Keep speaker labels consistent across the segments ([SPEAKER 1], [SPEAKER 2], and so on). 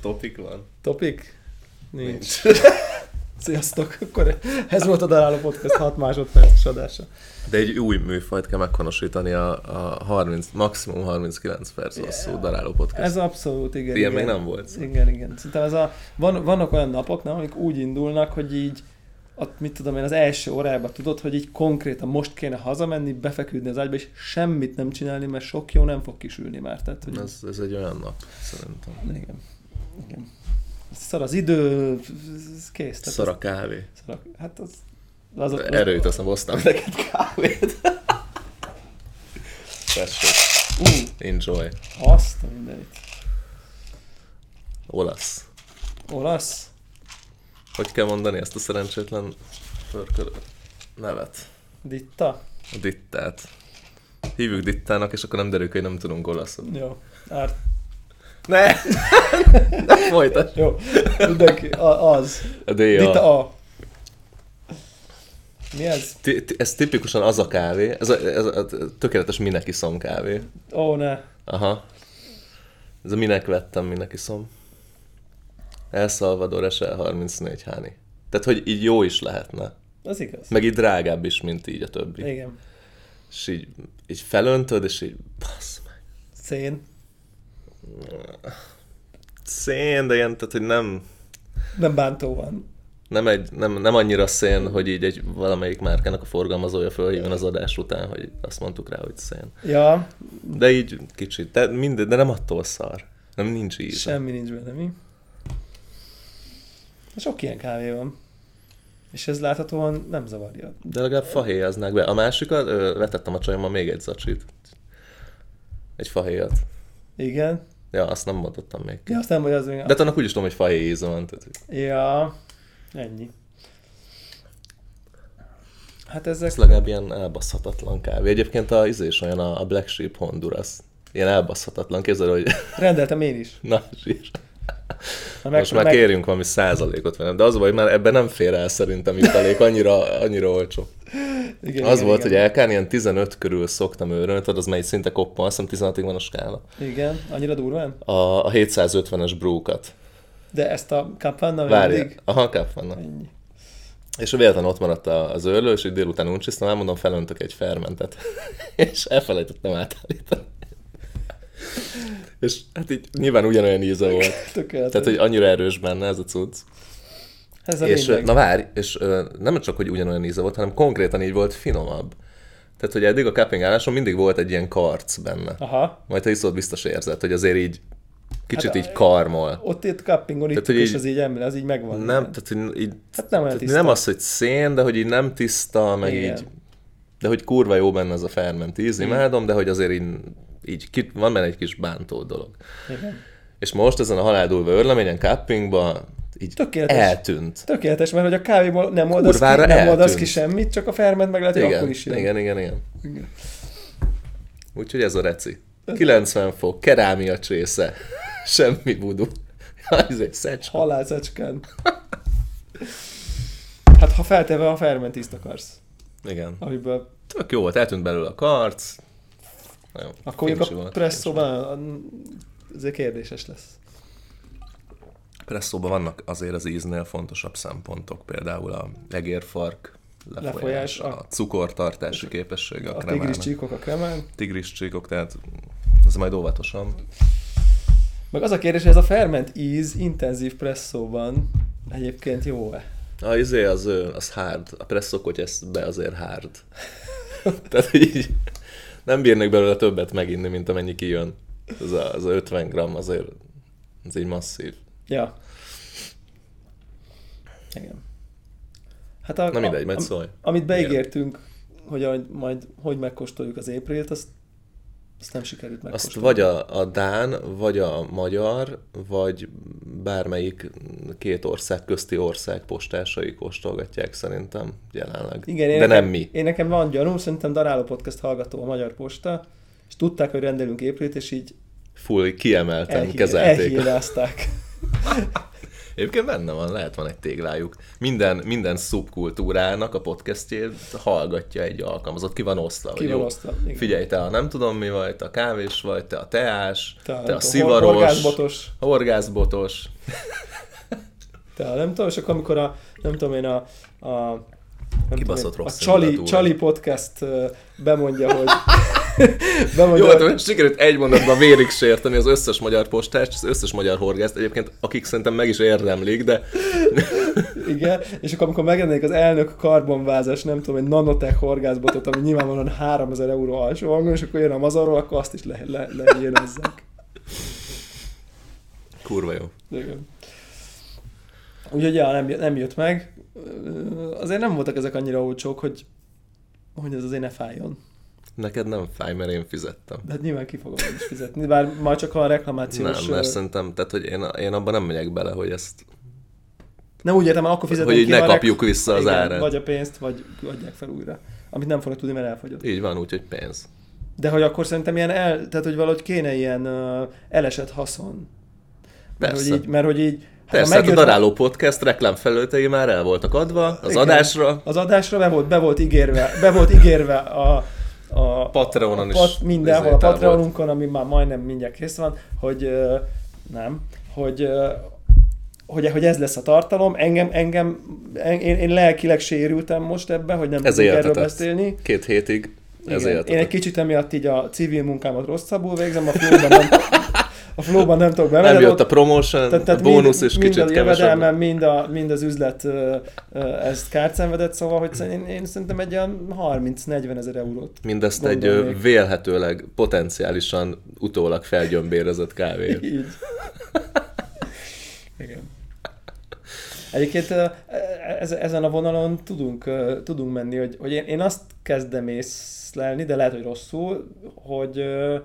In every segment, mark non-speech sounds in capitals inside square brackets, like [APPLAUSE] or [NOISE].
[SPEAKER 1] Topik van?
[SPEAKER 2] Topik? Nincs.
[SPEAKER 1] Nincs.
[SPEAKER 2] [LAUGHS] Sziasztok! Akkor ez volt a Daráló Podcast 6 másodperces adása.
[SPEAKER 1] De egy új műfajt kell meghonosítani a, a 30, maximum 39 perc hosszú yeah. daráló podcast.
[SPEAKER 2] Ez abszolút, igen.
[SPEAKER 1] Ilyen
[SPEAKER 2] igen.
[SPEAKER 1] még nem volt.
[SPEAKER 2] Igen, igen. Szerintem ez a, van, vannak olyan napok, nem, amik úgy indulnak, hogy így a, mit tudom én, az első órában tudod, hogy így konkrétan most kéne hazamenni, befeküdni az ágyba, és semmit nem csinálni, mert sok jó nem fog kisülni már. Tehát, hogy...
[SPEAKER 1] Ez, ez egy olyan nap, szerintem.
[SPEAKER 2] Igen. igen. Szar az idő, ez kész. Tehát
[SPEAKER 1] Szar a kávé.
[SPEAKER 2] ez- Szar a... Hát az... az, az [LAUGHS]
[SPEAKER 1] Erőt azt nem hoztam neked kávét. Tessék.
[SPEAKER 2] Ú,
[SPEAKER 1] Enjoy.
[SPEAKER 2] azt a mindenit.
[SPEAKER 1] Olasz.
[SPEAKER 2] Olasz?
[SPEAKER 1] Hogy kell mondani ezt a szerencsétlen förkölő nevet?
[SPEAKER 2] Ditta?
[SPEAKER 1] A dittát. Hívjuk dittának, és akkor nem derül ki, hogy nem tudunk olaszul.
[SPEAKER 2] Jó. Árt.
[SPEAKER 1] [LAUGHS] Ne! ne folytasd!
[SPEAKER 2] Jó. Mindenki. A, az.
[SPEAKER 1] A D.A.
[SPEAKER 2] Ditta a. Mi ez?
[SPEAKER 1] Ti- ti- ez tipikusan az a kávé, ez a, ez a, a tökéletes minek iszom kávé.
[SPEAKER 2] Ó, oh, ne.
[SPEAKER 1] Aha. Ez a minek vettem, minek iszom. El Salvador SL 34 háni. Tehát, hogy így jó is lehetne.
[SPEAKER 2] Az igaz.
[SPEAKER 1] Meg így drágább is, mint így a többi.
[SPEAKER 2] Igen.
[SPEAKER 1] És így, így felöntöd, és így bassz meg.
[SPEAKER 2] Szén.
[SPEAKER 1] Szén, de ilyen, tehát, hogy nem,
[SPEAKER 2] Nem bántó van.
[SPEAKER 1] nem, egy, nem, nem annyira szén, hogy így egy valamelyik márkának a forgalmazója fölhívjon az adás után, hogy azt mondtuk rá, hogy szén.
[SPEAKER 2] Ja,
[SPEAKER 1] De így kicsit, de, minden, de nem attól szar. Nem nincs íze.
[SPEAKER 2] semmi nincs benne, mi? Sok ilyen kávé van. És ez láthatóan nem zavarja.
[SPEAKER 1] De legalább fahéjaznák be. A másikat, ö, vetettem a csajommal még egy zacsit. Egy fahéjat.
[SPEAKER 2] Igen.
[SPEAKER 1] Ja, azt nem mondottam még.
[SPEAKER 2] Ja, aztán vagy az még...
[SPEAKER 1] De hát annak úgy is tudom, hogy fahéj íze van. Tehát, hogy
[SPEAKER 2] Ja, ennyi. Hát ezek...
[SPEAKER 1] ez legalább ilyen elbaszhatatlan kávé. Egyébként a izé is olyan a a Black Sheep Honduras. Ilyen elbaszhatatlan. Képzeld, el, hogy [LAUGHS]
[SPEAKER 2] Rendeltem én is.
[SPEAKER 1] na, zsír.
[SPEAKER 2] Na,
[SPEAKER 1] Most már kérjünk valami százalékot velem, de az a baj, már ebben nem fér el szerintem jutalék, annyira, annyira olcsó.
[SPEAKER 2] igen,
[SPEAKER 1] az
[SPEAKER 2] igen,
[SPEAKER 1] volt,
[SPEAKER 2] igen.
[SPEAKER 1] hogy LK-n ilyen 15 körül szoktam őrölni, tudod, az már egy szinte koppan, azt hiszem 16-ig van a skála.
[SPEAKER 2] Igen, annyira durván?
[SPEAKER 1] A, a 750-es brúkat.
[SPEAKER 2] De ezt a kapvánnal
[SPEAKER 1] Várj, aha, káp vannak.
[SPEAKER 2] Ennyi. [LAUGHS]
[SPEAKER 1] És véletlenül ott maradt a- az őrlő, és így délután uncsisztam, elmondom, felöntök egy fermentet. [LAUGHS] és elfelejtettem átállítani. és hát így nyilván ugyanolyan íze volt.
[SPEAKER 2] Tökéletes.
[SPEAKER 1] Tehát, hogy annyira erős benne ez a cucc.
[SPEAKER 2] Ez a
[SPEAKER 1] És,
[SPEAKER 2] és,
[SPEAKER 1] ö, na várj, és ö, nem csak, hogy ugyanolyan íze volt, hanem konkrétan így volt finomabb. Tehát, hogy eddig a cupping álláson mindig volt egy ilyen karc benne.
[SPEAKER 2] Aha.
[SPEAKER 1] Majd ha iszod, biztos érzed, hogy azért így kicsit
[SPEAKER 2] Hát a-
[SPEAKER 1] így karmol.
[SPEAKER 2] Ott itt cuppingon itt,
[SPEAKER 1] hogy
[SPEAKER 2] és
[SPEAKER 1] így-
[SPEAKER 2] az így emlél, az így megvan.
[SPEAKER 1] Nem, tehát hogy így,
[SPEAKER 2] Hát nem
[SPEAKER 1] tehát
[SPEAKER 2] olyan tiszta.
[SPEAKER 1] nem az, hogy szén, de hogy így nem tiszta, meg
[SPEAKER 2] Igen.
[SPEAKER 1] Igen. így, de hogy kurva jó benne ez a ferment íz, imádom, de hogy azért így, így ki, van benne egy kis bántó dolog.
[SPEAKER 2] Igen.
[SPEAKER 1] És most ezen a haláldulva örleményen, cuppingba, így
[SPEAKER 2] Tökéletes.
[SPEAKER 1] eltűnt.
[SPEAKER 2] Tökéletes, mert hogy a kávéból nem oldasz, ki,
[SPEAKER 1] Kurvára
[SPEAKER 2] nem oldasz
[SPEAKER 1] eltűnt.
[SPEAKER 2] ki semmit, csak a ferment meg lehet, hogy
[SPEAKER 1] Igen,
[SPEAKER 2] akkor is jön.
[SPEAKER 1] igen, igen, igen.
[SPEAKER 2] Igen.
[SPEAKER 1] Úgyhogy ez a reci. 90 fok, kerámia csésze, [LAUGHS] semmi budu. ez egy szecska.
[SPEAKER 2] Halálzacskán. Hát ha feltéve a ferment ízt akarsz,
[SPEAKER 1] Igen.
[SPEAKER 2] amiből
[SPEAKER 1] Tök jó volt, eltűnt belőle a karc. Nagyon
[SPEAKER 2] akkor mondjuk
[SPEAKER 1] fincsi
[SPEAKER 2] a
[SPEAKER 1] volt.
[SPEAKER 2] presszóban azért kérdéses lesz.
[SPEAKER 1] presszóban vannak azért az íznél fontosabb szempontok, például a egérfark, lefolyás,
[SPEAKER 2] Lefolyás,
[SPEAKER 1] lefolyás
[SPEAKER 2] a-
[SPEAKER 1] a... cukortartási képessége a,
[SPEAKER 2] A
[SPEAKER 1] a
[SPEAKER 2] tigris
[SPEAKER 1] kremának.
[SPEAKER 2] csíkok a kremán.
[SPEAKER 1] Tigris csíkok, tehát ez majd óvatosan.
[SPEAKER 2] Meg az a kérdés, hogy ez a ferment íz intenzív presszóban egyébként jó-e?
[SPEAKER 1] A izé az, ö, az hard, a presszok, hogy ezt be azért hard. [LAUGHS] tehát hogy így nem bírnak belőle többet meginni, mint amennyi kijön. Ez a, az a 50 gram azért, ez így masszív.
[SPEAKER 2] Ja. Igen. Hát a,
[SPEAKER 1] Na mindegy, majd
[SPEAKER 2] am-
[SPEAKER 1] szólj.
[SPEAKER 2] Amit beígértünk, hogy a- majd hogy megkóstoljuk az éprilt, azt, azt nem sikerült
[SPEAKER 1] Azt
[SPEAKER 2] megkóstolni.
[SPEAKER 1] vagy a, a Dán, vagy a magyar, vagy bármelyik két ország közti ország postásai kóstolgatják szerintem jelenleg.
[SPEAKER 2] Igen, én
[SPEAKER 1] De
[SPEAKER 2] nekem,
[SPEAKER 1] nem mi.
[SPEAKER 2] Én nekem van gyanúm, szerintem Daráló Podcast hallgató a Magyar Posta, és tudták, hogy rendelünk éprilt, és így
[SPEAKER 1] Full kiemelten
[SPEAKER 2] elhí-
[SPEAKER 1] kezelték.
[SPEAKER 2] elhírázták.
[SPEAKER 1] Egyébként benne van, lehet van egy téglájuk. Minden, minden szubkultúrának a podcastjét hallgatja egy alkalmazott, ki van osztva.
[SPEAKER 2] Ki
[SPEAKER 1] hogy
[SPEAKER 2] van
[SPEAKER 1] jó,
[SPEAKER 2] osztva, igen.
[SPEAKER 1] Figyelj, te a nem tudom mi vagy, te a kávés vagy, te a teás, te, te
[SPEAKER 2] nem
[SPEAKER 1] a
[SPEAKER 2] tudom, hor-
[SPEAKER 1] szivaros,
[SPEAKER 2] horgászbotos.
[SPEAKER 1] horgászbotos.
[SPEAKER 2] Tehát nem tudom, és akkor amikor a, nem tudom én, a, a nem
[SPEAKER 1] Kibaszott
[SPEAKER 2] tudom én,
[SPEAKER 1] rossz
[SPEAKER 2] a Csali,
[SPEAKER 1] indulatú
[SPEAKER 2] Csali
[SPEAKER 1] vagy.
[SPEAKER 2] podcast ö, bemondja,
[SPEAKER 1] [LAUGHS]
[SPEAKER 2] hogy
[SPEAKER 1] Jó,
[SPEAKER 2] bemondja,
[SPEAKER 1] hát most sikerült egy mondatban vérig sérteni az összes magyar postást, az összes magyar horgászt, egyébként akik szerintem meg is érdemlik, de
[SPEAKER 2] igen, és akkor amikor megjelenik az elnök karbonvázás, nem tudom, egy nanotech horgászbotot, ami nyilvánvalóan 3000 euró alsó hangon, és akkor jön a mazarról, akkor azt is le, le, lehíjénezzek.
[SPEAKER 1] kurva jó.
[SPEAKER 2] Igen. Úgyhogy ja, nem, jö- nem jött meg. Ö, Azért nem voltak ezek annyira olcsók, hogy, hogy ez azért ne fájjon.
[SPEAKER 1] Neked nem fáj, mert én fizettem.
[SPEAKER 2] De hát nyilván ki fogom én is fizetni, bár már csak a reklamációs...
[SPEAKER 1] Nem, mert
[SPEAKER 2] ö,
[SPEAKER 1] szerintem, tehát hogy én, én abban nem megyek bele, hogy ezt,
[SPEAKER 2] nem úgy értem, mert akkor fizetem
[SPEAKER 1] hogy így
[SPEAKER 2] ki,
[SPEAKER 1] ne
[SPEAKER 2] ha a rek-
[SPEAKER 1] kapjuk vissza az
[SPEAKER 2] Igen,
[SPEAKER 1] árát.
[SPEAKER 2] Vagy a pénzt, vagy adják fel újra. Amit nem fognak tudni, mert elfogyott.
[SPEAKER 1] Így van, úgyhogy pénz.
[SPEAKER 2] De hogy akkor szerintem ilyen el, tehát hogy valahogy kéne ilyen ö, elesett haszon. Mert
[SPEAKER 1] Persze.
[SPEAKER 2] hogy így, mert hogy így hát ha
[SPEAKER 1] Persze, hát a
[SPEAKER 2] megjött-
[SPEAKER 1] daráló podcast reklámfelőtei már el voltak adva az
[SPEAKER 2] Igen.
[SPEAKER 1] adásra.
[SPEAKER 2] Az adásra be volt, be volt ígérve, be volt ígérve a, a
[SPEAKER 1] Patreonon
[SPEAKER 2] a
[SPEAKER 1] is
[SPEAKER 2] pat, mindenhol a
[SPEAKER 1] izé, távol.
[SPEAKER 2] Patreonunkon, ami már majdnem mindjárt kész van, hogy ö, nem, hogy ö, hogy, hogy ez lesz a tartalom, engem, engem, en- én, én lelkileg sérültem most ebben, hogy nem
[SPEAKER 1] Ez
[SPEAKER 2] tudok erről
[SPEAKER 1] éltetett.
[SPEAKER 2] beszélni.
[SPEAKER 1] Két hétig ez
[SPEAKER 2] Igen. Én egy
[SPEAKER 1] éltetett.
[SPEAKER 2] kicsit emiatt így a civil munkámat rosszabbul végzem, a flóban nem, a flóban nem tudok bemenni.
[SPEAKER 1] Nem
[SPEAKER 2] de
[SPEAKER 1] jött a promotion,
[SPEAKER 2] tehát, tehát
[SPEAKER 1] a bónusz
[SPEAKER 2] mind,
[SPEAKER 1] is
[SPEAKER 2] mind
[SPEAKER 1] kicsit
[SPEAKER 2] a
[SPEAKER 1] kevesebb.
[SPEAKER 2] jövedelmem, mind, a, mind az üzlet ö, ö, ezt kárt szenvedett, szóval hogy szerint- én, én szerintem egy ilyen 30-40 ezer eurót.
[SPEAKER 1] Mindezt egy ö,
[SPEAKER 2] Gondolnék.
[SPEAKER 1] vélhetőleg potenciálisan utólag felgyömbérezett kávéért.
[SPEAKER 2] [LAUGHS] Így. Igen. Egyébként ö, e, ez, ezen a vonalon tudunk, ö, tudunk menni, hogy, hogy én, én azt kezdem észlelni, de lehet, hogy rosszul, hogy, ö,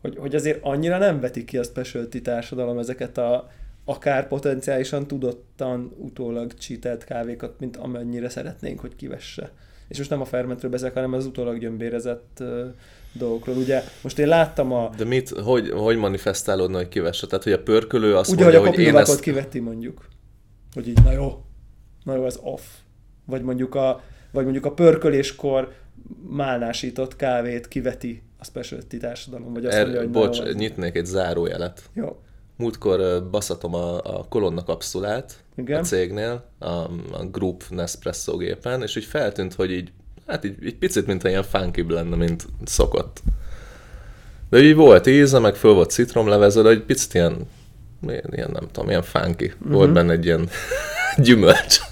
[SPEAKER 2] hogy, hogy azért annyira nem vetik ki a specialty társadalom ezeket a akár potenciálisan tudottan utólag csítelt kávékat, mint amennyire szeretnénk, hogy kivesse. És most nem a fermentről beszélek, hanem az utólag gyömbérezett ö, dolgokról. Ugye most én láttam a,
[SPEAKER 1] De mit, hogy, hogy manifestálódna, hogy kivesse? Tehát, hogy a pörkölő azt
[SPEAKER 2] Úgy, ahogy
[SPEAKER 1] mondja,
[SPEAKER 2] a
[SPEAKER 1] hogy én
[SPEAKER 2] kopilovákot
[SPEAKER 1] ezt...
[SPEAKER 2] kivetti mondjuk. Hogy így, na jó, na jó, ez off. Vagy mondjuk a, vagy mondjuk a pörköléskor málnásított kávét kiveti a specialty társadalom, vagy azt mondja,
[SPEAKER 1] Er,
[SPEAKER 2] hogy
[SPEAKER 1] bocs,
[SPEAKER 2] na jó, ez-
[SPEAKER 1] nyitnék egy zárójelet.
[SPEAKER 2] jó.
[SPEAKER 1] Múltkor ö, baszatom a, a kolonna kapszulát
[SPEAKER 2] Igen.
[SPEAKER 1] a cégnél, a, a Group Nespresso gépen, és így feltűnt, hogy így, hát így, így picit, mint ilyen funky lenne, mint szokott. De így volt íze, meg föl volt citromlevező, de egy picit ilyen, ilyen, ilyen nem tudom, ilyen funky. Uh-huh. Volt benne egy ilyen [LAUGHS] gyümölcs. [LAUGHS]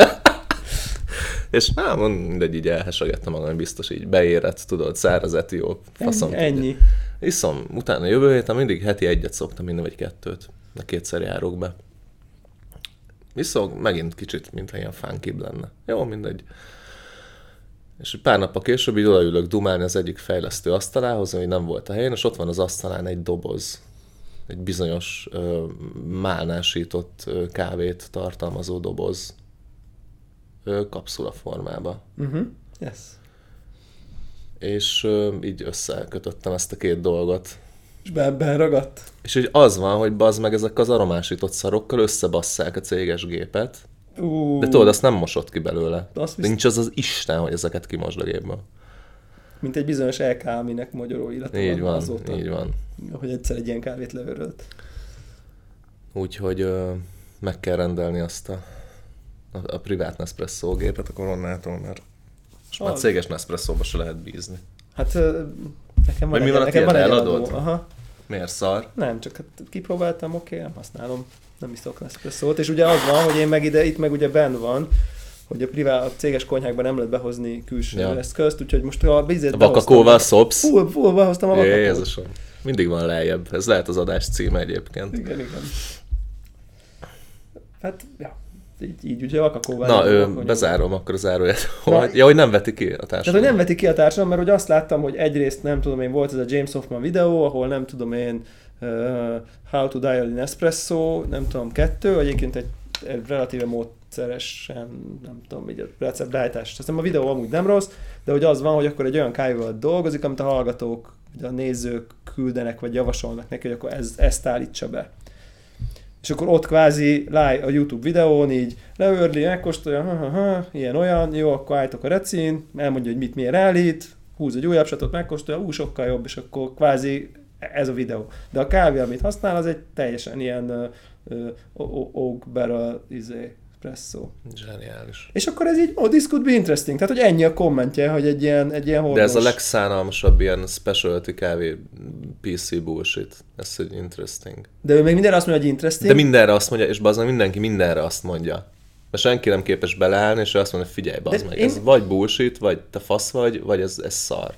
[SPEAKER 1] és hát mindegy, így elhesegettem magam, hogy biztos így beérett, tudod, száraz etióp, faszom.
[SPEAKER 2] Ennyi,
[SPEAKER 1] tudja.
[SPEAKER 2] ennyi.
[SPEAKER 1] Iszom, utána jövő héten mindig heti egyet szoktam inni, vagy kettőt. De kétszer járok be. Iszok megint kicsit, mint ilyen fánkibb lenne. Jó, mindegy. És pár nappal később így odaülök dumálni az egyik fejlesztő asztalához, ami nem volt a helyén, és ott van az asztalán egy doboz. Egy bizonyos ö, málnásított ö, kávét tartalmazó doboz. Ö, kapszula formába
[SPEAKER 2] Uh-huh. Yes.
[SPEAKER 1] és ö, így összekötöttem ezt a két dolgot.
[SPEAKER 2] És be ebben ragadt.
[SPEAKER 1] És hogy az van, hogy bazd meg ezek az aromásított szarokkal összebasszák a céges gépet,
[SPEAKER 2] Ú,
[SPEAKER 1] de tudod, azt nem mosott ki belőle.
[SPEAKER 2] Azt
[SPEAKER 1] De
[SPEAKER 2] visz,
[SPEAKER 1] nincs az az Isten, hogy ezeket kimosd a gépből.
[SPEAKER 2] mint egy bizonyos LK, aminek magyaró illata
[SPEAKER 1] Így van,
[SPEAKER 2] azóta,
[SPEAKER 1] így van.
[SPEAKER 2] hogy egyszer egy ilyen kávét leörölt.
[SPEAKER 1] Úgyhogy ö, meg kell rendelni azt a, a, a privát Nespresso gépet a koronától, mert most már
[SPEAKER 2] Az.
[SPEAKER 1] céges Nespresso-ba se lehet bízni.
[SPEAKER 2] Hát ö, nekem van,
[SPEAKER 1] Vagy mi
[SPEAKER 2] egy,
[SPEAKER 1] van a
[SPEAKER 2] nekem van egy
[SPEAKER 1] tiéd?
[SPEAKER 2] eladó.
[SPEAKER 1] Eladod?
[SPEAKER 2] Aha.
[SPEAKER 1] Miért szar?
[SPEAKER 2] Nem, csak hát kipróbáltam, oké, nem használom, nem iszok Nespresso-t, és ugye az van, hogy én meg ide, itt meg ugye benn van, hogy a privát, a céges konyhákban nem lehet behozni külső
[SPEAKER 1] Ja.
[SPEAKER 2] ja. eszközt, úgyhogy most a bizet
[SPEAKER 1] A vakakóval szopsz?
[SPEAKER 2] Full, full behoztam a vakakót.
[SPEAKER 1] Jézusom. Mindig van lejjebb. Ez lehet az adás címe egyébként.
[SPEAKER 2] Igen, igen. Hát, ja, így, így ugye a vakakóval.
[SPEAKER 1] Na,
[SPEAKER 2] nem
[SPEAKER 1] ő,
[SPEAKER 2] vakanyom.
[SPEAKER 1] bezárom akkor az áróját.
[SPEAKER 2] Na,
[SPEAKER 1] Hogy, ja, hogy nem veti ki a
[SPEAKER 2] Tehát, hogy
[SPEAKER 1] társadalom.
[SPEAKER 2] nem veti ki a társadalom, mert hogy azt láttam, hogy egyrészt nem tudom én, volt ez a James Hoffman videó, ahol nem tudom én uh, How to Dial in Espresso, nem tudom, kettő, egyébként egy, egy relatíve módszeresen, nem tudom, így a receptájtást. Aztán a videó amúgy nem rossz, de hogy az van, hogy akkor egy olyan kávéval dolgozik, amit a hallgatók, vagy a nézők küldenek, vagy javasolnak neki, hogy akkor ez, ezt állítsa be. és akkor ott kvázi live a YouTube videón így leörli, megkóstolja, ha, ha, ha, ilyen olyan, jó, akkor álltok a recin, elmondja, hogy mit miért állít, húz egy újabb satot, megkóstolja, ú, sokkal jobb, és akkor kvázi ez a videó. De a kávé, amit használ, az egy teljesen ilyen ö, ö, o- o- oak barrel izé, presszó.
[SPEAKER 1] Zseniális.
[SPEAKER 2] És akkor ez így, oh, this could be interesting. Tehát, hogy ennyi a kommentje, hogy egy ilyen, egy ilyen
[SPEAKER 1] De
[SPEAKER 2] hordós.
[SPEAKER 1] ez a legszánalmasabb ilyen specialty kávé PC bullshit. Ez egy interesting.
[SPEAKER 2] De ő még mindenre azt mondja, hogy interesting.
[SPEAKER 1] De mindenre azt mondja, és bazdmeg mindenki mindenre azt mondja. Mert senki nem képes beleállni, és ő azt mondja, figyelj, bazd
[SPEAKER 2] De
[SPEAKER 1] meg,
[SPEAKER 2] én-
[SPEAKER 1] ez vagy bullshit, vagy te fasz vagy, vagy ez, ez szar.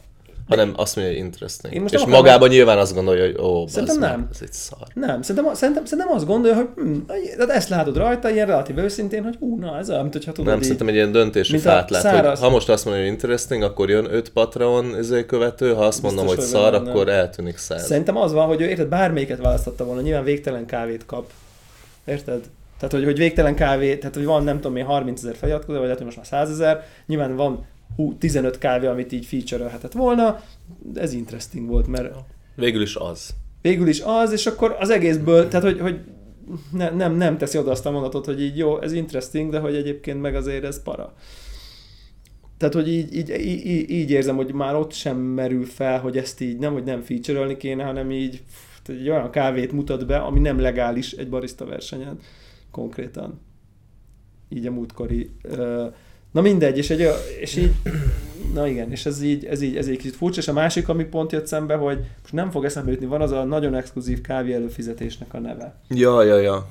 [SPEAKER 1] Hanem azt mondja, hogy
[SPEAKER 2] Én
[SPEAKER 1] interesting.
[SPEAKER 2] most
[SPEAKER 1] És
[SPEAKER 2] nem akarom-
[SPEAKER 1] magában nyilván azt gondolja, hogy ó, bazd
[SPEAKER 2] Szerintem
[SPEAKER 1] meg,
[SPEAKER 2] nem.
[SPEAKER 1] ez egy szar.
[SPEAKER 2] Nem, szerintem, szerintem, szerintem azt gondolja, hogy hm, tehát ezt látod rajta, ilyen relatív őszintén, hogy ú, na ez olyan, mint hogyha tudod
[SPEAKER 1] Nem,
[SPEAKER 2] így.
[SPEAKER 1] szerintem egy ilyen döntési
[SPEAKER 2] Mint a
[SPEAKER 1] fát lát, hogy
[SPEAKER 2] száraz-
[SPEAKER 1] ha most azt mondja, hogy interesting, akkor jön öt Patreon izé követő, ha azt mondom,
[SPEAKER 2] Biztos,
[SPEAKER 1] hogy
[SPEAKER 2] hogy
[SPEAKER 1] szar,
[SPEAKER 2] benne.
[SPEAKER 1] akkor eltűnik száz.
[SPEAKER 2] Szerintem az van, hogy ő érted, bármelyiket választotta volna, nyilván végtelen kávét kap. Érted? Tehát, hogy, hogy végtelen kávé, tehát, hogy van nem tudom én 30 ezer feliratkozó, vagy lehet, hogy most már 100 ezer, nyilván van hú, 15 kávé, amit így feature-ölhetett volna, de ez interesting volt, mert
[SPEAKER 1] Végül is az.
[SPEAKER 2] végül is az, és akkor az egészből, tehát hogy, hogy ne, nem, nem teszi oda azt a mondatot, hogy így jó, ez interesting, de hogy egyébként meg azért ez para. Tehát, hogy így, így, így, így- így érzem, hogy már ott sem merül fel, hogy ezt így nem, hogy nem feature kéne, hanem így pff, tehát egy olyan kávét mutat be, ami nem legális egy barista versenyen konkrétan. Így a múltkori. ö, Na mindegy, és, egy, olyan- és így Na igen, és ez így, ez így, ez így kicsit furcsa, és a másik, ami pont jött szembe, hogy most nem fog eszembe jutni, van az a nagyon exkluzív kávé előfizetésnek a neve.
[SPEAKER 1] Ja, ja, ja.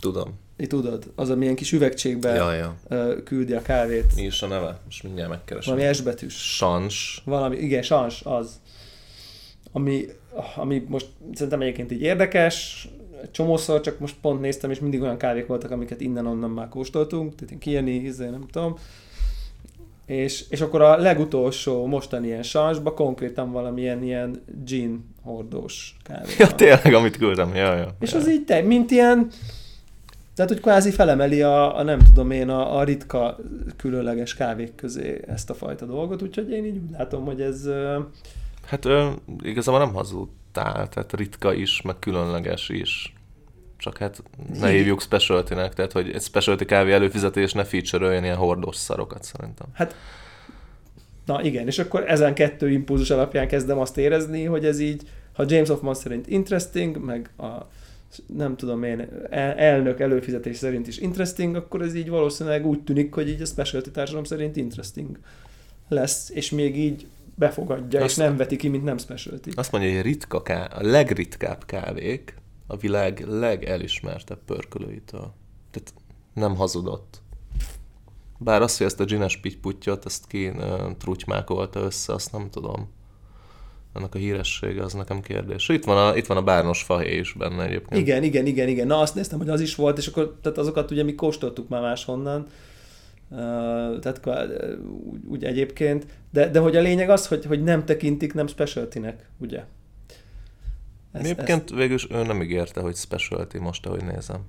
[SPEAKER 1] Tudom.
[SPEAKER 2] Így tudod, az, amilyen kis üvegcsékbe ja.
[SPEAKER 1] Ja, ja.
[SPEAKER 2] küldi a kávét.
[SPEAKER 1] Mi is a neve? Most mindjárt megkeresem.
[SPEAKER 2] Valami S betűs.
[SPEAKER 1] Sans. [LAUGHS]
[SPEAKER 2] Valami, igen, sans, az. Ami, ami most szerintem egyébként így érdekes, egy csomószor, csak most pont néztem, és mindig olyan kávék voltak, amiket innen-onnan már kóstoltunk, tehát én kijeni, izé, nem tudom. És, és akkor a legutolsó mostani ilyen sansba konkrétan valamilyen ilyen gin hordós kávé.
[SPEAKER 1] Ja,
[SPEAKER 2] van.
[SPEAKER 1] tényleg, amit küldtem. Ja, ja.
[SPEAKER 2] És
[SPEAKER 1] ja.
[SPEAKER 2] az így te, mint ilyen, tehát hogy kvázi felemeli a, a nem tudom én, a, a ritka, különleges kávék közé ezt a fajta dolgot, úgyhogy én így úgy látom, hogy ez... ö,
[SPEAKER 1] Hát ö, igazából nem hazudtál, tehát ritka is, meg különleges is. Csak hát ne hívjuk specialty tehát hogy egy specialty kávé előfizetés ne feature ilyen hordós szarokat szerintem.
[SPEAKER 2] Hát, na igen, és akkor ezen kettő impulzus alapján kezdem azt érezni, hogy ez így, ha James Hoffman szerint interesting, meg a nem tudom én, el- elnök előfizetés szerint is interesting, akkor ez így valószínűleg úgy tűnik, hogy így a specialty társadalom szerint interesting lesz, és még így befogadja, Azt... és
[SPEAKER 1] Azt-
[SPEAKER 2] nem veti ki, mint nem specialty.
[SPEAKER 1] Azt mondja, hogy a ritka ká... a legritkább kávék a világ legelismertebb pörkölőitől. Tehát nem hazudott. Bár azt, hogy ezt a dzsines pittyputyot, ezt ki ö, trutymákolta össze, azt nem tudom. Annak a híressége az nekem kérdés. Itt van a, itt van a bárnos fahé is benne egyébként.
[SPEAKER 2] Igen, igen, igen, igen. Na azt néztem, hogy az is volt, és akkor tehát azokat ugye mi kóstoltuk már máshonnan, Ö, tehát kvá- ö, úgy, úgy egyébként, de, de hogy a lényeg az, hogy, hogy nem tekintik nem specialtynek, ugye?
[SPEAKER 1] Ez, Egyébként ez... végül is ő nem ígérte, hogy specialty most, ahogy nézem.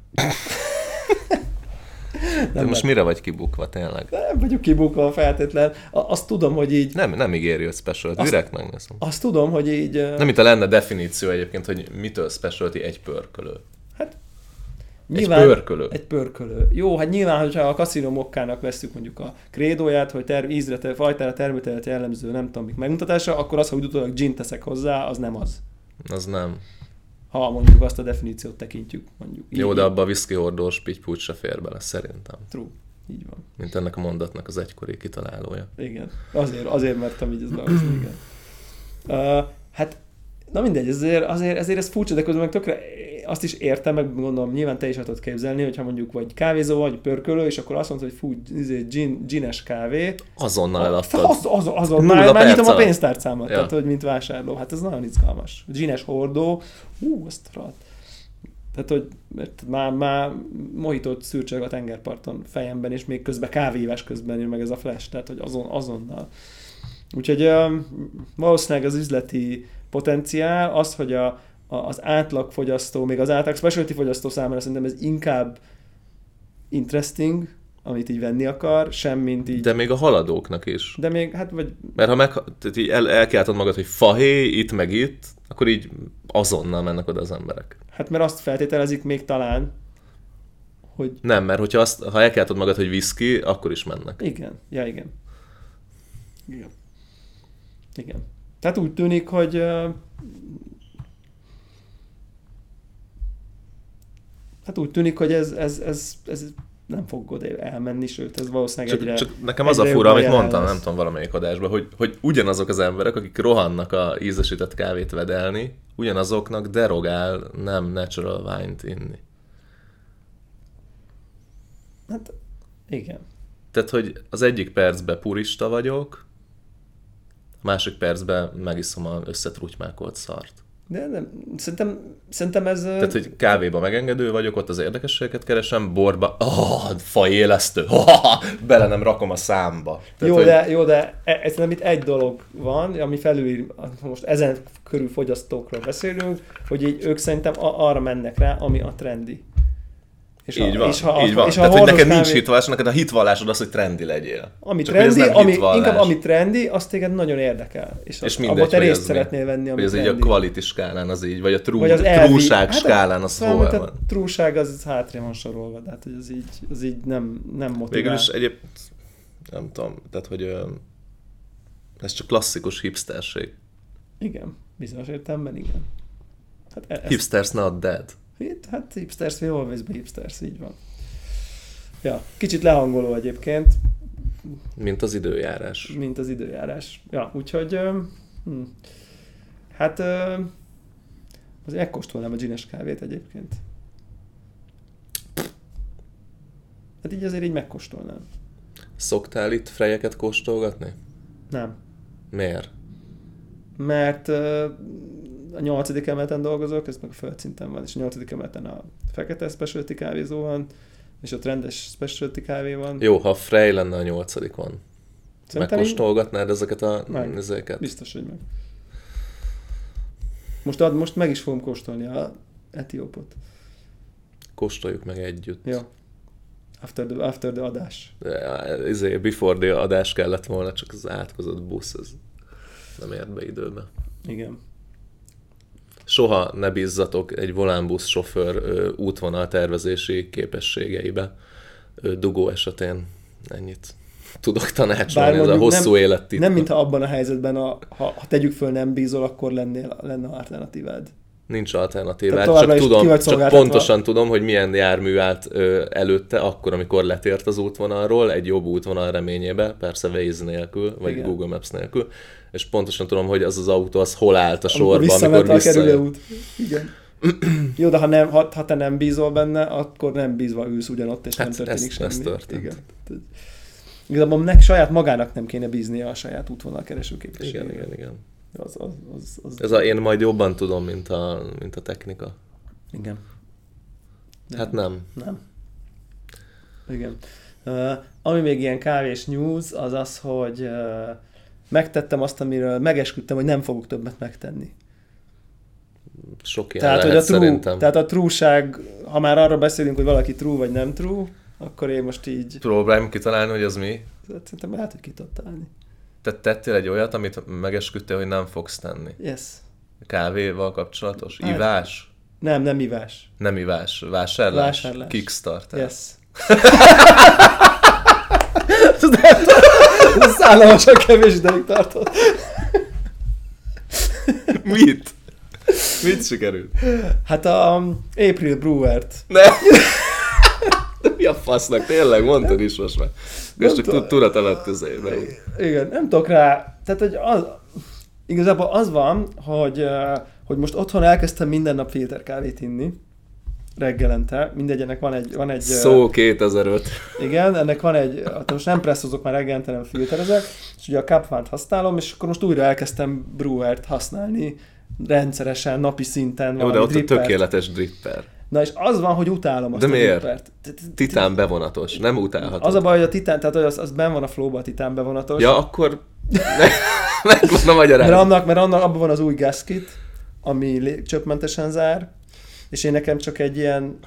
[SPEAKER 1] De
[SPEAKER 2] nem,
[SPEAKER 1] most mire vagy kibukva tényleg?
[SPEAKER 2] nem vagyok kibukva feltétlen. A, azt tudom, hogy így,
[SPEAKER 1] Nem, nem ígéri, hogy specialty,
[SPEAKER 2] Azt-
[SPEAKER 1] azt... direkt megnézem.
[SPEAKER 2] azt tudom, hogy így, ö,
[SPEAKER 1] Nem, itt lenne definíció egyébként, hogy mitől specialty egy pörkölő. Egy pörkölő.
[SPEAKER 2] Egy pörkölő. Jó, hát nyilván, hogyha a kaszinó mokkának veszük mondjuk a krédóját, hogy terv, ízre, ter, fajtára, termőtelet jellemző, nem tudom, mik megmutatása, akkor az, ha úgy utólag gin teszek hozzá, az nem az.
[SPEAKER 1] Az nem.
[SPEAKER 2] ha mondjuk azt a definíciót tekintjük, mondjuk. Így,
[SPEAKER 1] Jó, de abba a viszkihordós pittypút se fér bele, szerintem.
[SPEAKER 2] True. Így van.
[SPEAKER 1] Mint ennek a mondatnak az egykori kitalálója.
[SPEAKER 2] Igen. Azért, azért mertem így ezt behozni, igen. Uh, hát, na mindegy, ezért, azért, ezért ez furcsa, de közben meg tökre azt is értem, meg gondolom, nyilván te is el tudod képzelni, hogyha mondjuk vagy kávézó vagy pörkölő, és akkor azt mondod, hogy fú, izé, gin, gines kávé.
[SPEAKER 1] Azonnal
[SPEAKER 2] Az,
[SPEAKER 1] eladtad.
[SPEAKER 2] az, az, az,
[SPEAKER 1] Nulla
[SPEAKER 2] már, már
[SPEAKER 1] perc
[SPEAKER 2] nyitom a
[SPEAKER 1] alatt.
[SPEAKER 2] pénztárcámat,
[SPEAKER 1] Ja.
[SPEAKER 2] tehát, hogy mint vásárló. Hát ez nagyon izgalmas. Gines hordó. Ú, azt rat. Tehát, hogy mert már, már mohitott szürcsög a tengerparton fejemben, és még közben kávévás közben jön meg ez a flash, tehát, hogy azon, azonnal. Úgyhogy öm, valószínűleg az üzleti potenciál az, hogy a, a, az átlagfogyasztó, még az átlag specialty fogyasztó számára szerintem ez inkább interesting, amit így venni akar, semmint így. De,
[SPEAKER 1] De még a haladóknak is.
[SPEAKER 2] de még, hát vagy
[SPEAKER 1] Mert ha meg, tehát így el, elkiáltod magad, hogy fahé, itt meg itt, akkor így azonnal mennek oda az emberek.
[SPEAKER 2] Hát mert azt feltételezik még talán, hogy
[SPEAKER 1] Nem, mert hogyha azt, ha elkiáltod magad, hogy whisky, akkor is mennek.
[SPEAKER 2] igen, ja igen. Igen. Igen. Tehát úgy tűnik, hogy ö, hát úgy tűnik, hogy ez, ez, ez, ez nem fog oda elmenni, sőt, ez valószínűleg
[SPEAKER 1] Csak,
[SPEAKER 2] egyre...
[SPEAKER 1] csak nekem az a
[SPEAKER 2] egyre
[SPEAKER 1] fura,
[SPEAKER 2] jobban
[SPEAKER 1] amit
[SPEAKER 2] jelen
[SPEAKER 1] mondtam,
[SPEAKER 2] lesz.
[SPEAKER 1] nem tudom, valamelyik adásban, hogy, hogy ugyanazok az emberek, akik rohannak a ízesített kávét vedelni, ugyanazoknak derogál nem natural wine-t inni.
[SPEAKER 2] Hát, igen.
[SPEAKER 1] Tehát, hogy az egyik percben purista vagyok, a másik percben megiszom a összetrutymákolt szart.
[SPEAKER 2] De nem, szerintem, szerintem ez...
[SPEAKER 1] Tehát, hogy kávéba megengedő vagyok, ott az érdekességeket keresem, borba, oh, faélesztő, oh, [LAUGHS] bele nem rakom a számba. Tehát,
[SPEAKER 2] jó,
[SPEAKER 1] hogy,
[SPEAKER 2] de, jó, de e- e- szerintem itt egy dolog van, ami felül, most ezen körül fogyasztókról beszélünk, hogy így ők szerintem a- arra mennek rá, ami a trendi. És
[SPEAKER 1] Így van,
[SPEAKER 2] és ha,
[SPEAKER 1] így van.
[SPEAKER 2] És ha
[SPEAKER 1] Tehát, hogy
[SPEAKER 2] hordod
[SPEAKER 1] neked nincs
[SPEAKER 2] kávé-
[SPEAKER 1] hitvallás, neked a hitvallásod az, hogy trendi legyél.
[SPEAKER 2] ami
[SPEAKER 1] Csak hogy ez
[SPEAKER 2] trendi,
[SPEAKER 1] nem
[SPEAKER 2] ami,
[SPEAKER 1] hitvallás.
[SPEAKER 2] inkább ami trendi, az téged nagyon érdekel. És,
[SPEAKER 1] és
[SPEAKER 2] és
[SPEAKER 1] mindegy,
[SPEAKER 2] abban te
[SPEAKER 1] hogy
[SPEAKER 2] részt
[SPEAKER 1] ez mi.
[SPEAKER 2] szeretnél venni, ami
[SPEAKER 1] Hogy ez így
[SPEAKER 2] trendi.
[SPEAKER 1] a quality skálán az így, vagy a trú,
[SPEAKER 2] Vagy az elvi-
[SPEAKER 1] trúság
[SPEAKER 2] hát a-
[SPEAKER 1] skálán az
[SPEAKER 2] Szóval,
[SPEAKER 1] hol
[SPEAKER 2] tehát
[SPEAKER 1] van.
[SPEAKER 2] trúság az az hátrébb van sorolva, tehát hogy az így, az így nem, nem motivál.
[SPEAKER 1] Végül is egyéb, nem tudom, tehát hogy ö, ez csak klasszikus hipsterség.
[SPEAKER 2] Igen, bizonyos értelemben igen. Hát e- ezt-
[SPEAKER 1] Hipsters not dead.
[SPEAKER 2] Hit, hát hipsters, we always be hipsters, így van. Ja, kicsit lehangoló egyébként,
[SPEAKER 1] Mint az időjárás.
[SPEAKER 2] mint az időjárás. Ja, úgyhogy, öm, hm. hát ö, az elkóstolnám a gines kávét egyébként. Hát így azért így megkóstolnám.
[SPEAKER 1] Szoktál itt frejeket kóstolgatni?
[SPEAKER 2] Nem.
[SPEAKER 1] Miért?
[SPEAKER 2] Mert ö, a nyolcadik emeleten dolgozok, ez meg a földszinten van, és a nyolcadik emeleten a fekete specialty kávézó van, és ott rendes specialty kávé van.
[SPEAKER 1] Jó, ha Frey lenne a nyolcadikon.
[SPEAKER 2] Szerintem így-
[SPEAKER 1] Megkóstolgatnád ezeket a...
[SPEAKER 2] Meg.
[SPEAKER 1] Ezeket?
[SPEAKER 2] Biztos, hogy meg. Most, ad, most meg is fogom kóstolni a etiópot.
[SPEAKER 1] Kóstoljuk meg együtt.
[SPEAKER 2] Jó. After the, after the adás.
[SPEAKER 1] Ja, Izé, before the adás kellett volna, csak az átkozott busz, ez nem ért be időbe.
[SPEAKER 2] Igen.
[SPEAKER 1] Soha ne bízzatok egy volánbusz sofőr ö, útvonal tervezési képességeibe ö, dugó esetén. Ennyit tudok tanácsolni,
[SPEAKER 2] Bár
[SPEAKER 1] ez a
[SPEAKER 2] mondjuk
[SPEAKER 1] hosszú
[SPEAKER 2] nem-
[SPEAKER 1] élet
[SPEAKER 2] Itt. Nem, mintha abban a helyzetben, a, ha, ha tegyük föl nem bízol, akkor lennél, lenne alternatívád.
[SPEAKER 1] Nincs
[SPEAKER 2] Tehát
[SPEAKER 1] alternatívát,
[SPEAKER 2] továbbra
[SPEAKER 1] csak
[SPEAKER 2] is ki
[SPEAKER 1] tudom,
[SPEAKER 2] vagy
[SPEAKER 1] csak
[SPEAKER 2] szolgáltatva.
[SPEAKER 1] pontosan tudom, hogy milyen jármű állt ö, előtte, akkor, amikor letért az útvonalról, egy jobb útvonal reményébe, persze Waze nélkül, vagy Igen.
[SPEAKER 2] Igen.
[SPEAKER 1] Google Maps nélkül, és pontosan tudom, hogy az az autó az hol állt a
[SPEAKER 2] Amikor
[SPEAKER 1] sorba, amikor
[SPEAKER 2] visszament a kerülő
[SPEAKER 1] visszajött.
[SPEAKER 2] út. Igen. Jó, de ha, nem, ha, ha, te nem bízol benne, akkor nem bízva ülsz ugyanott, és
[SPEAKER 1] Hát
[SPEAKER 2] nem történik
[SPEAKER 1] ez-
[SPEAKER 2] semmi.
[SPEAKER 1] ez történt.
[SPEAKER 2] Igen. Tehát- Igazából nek, saját magának nem kéne bíznia a saját útvonal
[SPEAKER 1] Igen,
[SPEAKER 2] keresőképességére.
[SPEAKER 1] igen, igen.
[SPEAKER 2] Az, az, az, az,
[SPEAKER 1] Ez a én majd jobban tudom, mint a, mint a technika.
[SPEAKER 2] Igen.
[SPEAKER 1] Nem. Hát nem.
[SPEAKER 2] Nem. Igen. Uh, ami még ilyen kávés news, az az, hogy uh, megtettem azt, amiről megesküdtem, hogy nem fogok többet megtenni.
[SPEAKER 1] Sok ilyen
[SPEAKER 2] tehát,
[SPEAKER 1] lehet
[SPEAKER 2] hogy a true,
[SPEAKER 1] szerintem. Tehát...
[SPEAKER 2] tehát a trúság, ha már arról beszélünk, hogy valaki true vagy nem true, akkor én most így,
[SPEAKER 1] Próbáljunk kitalálni, hogy ez mi.
[SPEAKER 2] hát szerintem lehet, hogy ki tudod találni.
[SPEAKER 1] Te tettél egy olyat, amit megesküdtél, hogy nem fogsz tenni.
[SPEAKER 2] Yes.
[SPEAKER 1] Kávéval kapcsolatos?
[SPEAKER 2] Hát.
[SPEAKER 1] Ivás?
[SPEAKER 2] Nem, nem ivás.
[SPEAKER 1] Nem ivás. Vásárlás?
[SPEAKER 2] Vásárlás.
[SPEAKER 1] Kickstarter.
[SPEAKER 2] Yes.
[SPEAKER 1] hát-
[SPEAKER 2] Ez Szállamosan kevés ideig tartott.
[SPEAKER 1] [LAUGHS] Mit? Mit sikerült?
[SPEAKER 2] Hát a um, April Brewert
[SPEAKER 1] Ne! [LAUGHS] mi a fasznak? Tényleg, mondtad is most már.
[SPEAKER 2] Nem
[SPEAKER 1] Most csak
[SPEAKER 2] tudom.
[SPEAKER 1] tud tudat alatt közébe.
[SPEAKER 2] Igen, nem tudok rá. Tehát, hogy az, igazából az van, hogy, eh, hogy most otthon elkezdtem minden nap filterkávét inni reggelente, mindegyenek van egy, van egy eh,
[SPEAKER 1] Szó 2005.
[SPEAKER 2] igen, ennek van egy, hát most nem presszozok már reggelente, nem filterezek, és ugye a Capvant használom, és akkor most újra elkezdtem brewert használni rendszeresen, napi szinten.
[SPEAKER 1] Jó, de
[SPEAKER 2] valami
[SPEAKER 1] ott a
[SPEAKER 2] drippert.
[SPEAKER 1] tökéletes dripper.
[SPEAKER 2] Na és az van, hogy utálom azt
[SPEAKER 1] De
[SPEAKER 2] a
[SPEAKER 1] miért?
[SPEAKER 2] drippert. Te- te-
[SPEAKER 1] Titán bevonatos, nem utálható.
[SPEAKER 2] Az a baj, hogy a titán, tehát hogy az, az ben van a flóba a titán bevonatos.
[SPEAKER 1] Ja, akkor ne- [LAUGHS] megvan a
[SPEAKER 2] Mert
[SPEAKER 1] magyarázat.
[SPEAKER 2] annak, mert annak abban van az új gasket, ami lé- csöpmentesen zár, és én nekem csak egy ilyen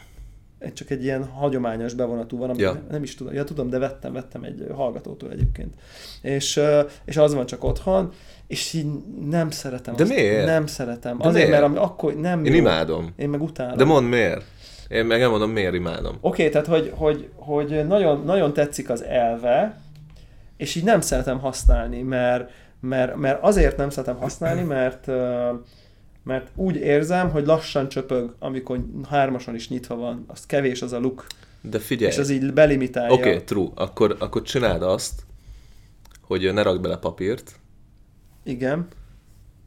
[SPEAKER 2] egy- csak egy ilyen hagyományos bevonatú van, amit
[SPEAKER 1] Ja.
[SPEAKER 2] ja. nem is tudom, ja tudom, de vettem, vettem egy hallgatótól egyébként. És, ö, és az van csak otthon, és így nem szeretem
[SPEAKER 1] De
[SPEAKER 2] azt.
[SPEAKER 1] miért?
[SPEAKER 2] Nem szeretem.
[SPEAKER 1] De
[SPEAKER 2] De Azért,
[SPEAKER 1] miért?
[SPEAKER 2] mert ami akkor nem
[SPEAKER 1] Én
[SPEAKER 2] jó.
[SPEAKER 1] imádom.
[SPEAKER 2] Én meg utálom.
[SPEAKER 1] De mondd miért. Én meg elmondom, miért imádom.
[SPEAKER 2] Oké, okay, tehát hogy, hogy, hogy nagyon, nagyon tetszik az elve, és így nem szeretem használni, mert, mert, mert azért nem szeretem használni, mert ö, mert úgy érzem, hogy lassan csöpög, amikor hármason is nyitva van, az kevés az a luk,
[SPEAKER 1] De figyelj.
[SPEAKER 2] és az így belimitálja.
[SPEAKER 1] Oké, okay, true. Akkor, akkor csináld azt, hogy ne rakd bele papírt,
[SPEAKER 2] Igen,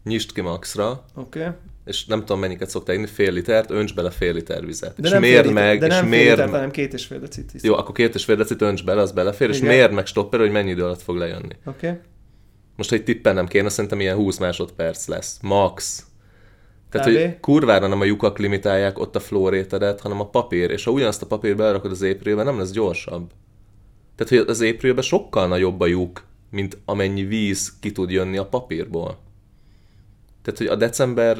[SPEAKER 1] nyisd ki maxra,
[SPEAKER 2] oké. Okay.
[SPEAKER 1] és nem tudom mennyiket szokták inni, fél litert, önts bele fél liter vizet.
[SPEAKER 2] De
[SPEAKER 1] és
[SPEAKER 2] nem fél
[SPEAKER 1] mérd
[SPEAKER 2] liter-
[SPEAKER 1] meg,
[SPEAKER 2] de
[SPEAKER 1] és
[SPEAKER 2] nem fél
[SPEAKER 1] mérd
[SPEAKER 2] liter,
[SPEAKER 1] meg.
[SPEAKER 2] hanem két és fél decit.
[SPEAKER 1] Jó, akkor két és fél decit önts bele, az belefér, és
[SPEAKER 2] Igen.
[SPEAKER 1] mérd meg stopper, hogy mennyi idő alatt fog lejönni.
[SPEAKER 2] Oké. Okay.
[SPEAKER 1] Most, hogy tippelnem kéne, szerintem ilyen 20 másodperc lesz. Max. Tehát,
[SPEAKER 2] Kb.
[SPEAKER 1] hogy kurvára nem a lyukak limitálják ott a flórétedet, hanem a papír. És ha ugyanazt a papírt belerakod az éprilbe, nem lesz gyorsabb. Tehát, hogy az éprilbe sokkal nagyobb a lyuk, mint amennyi víz ki tud jönni a papírból. Tehát, hogy a december,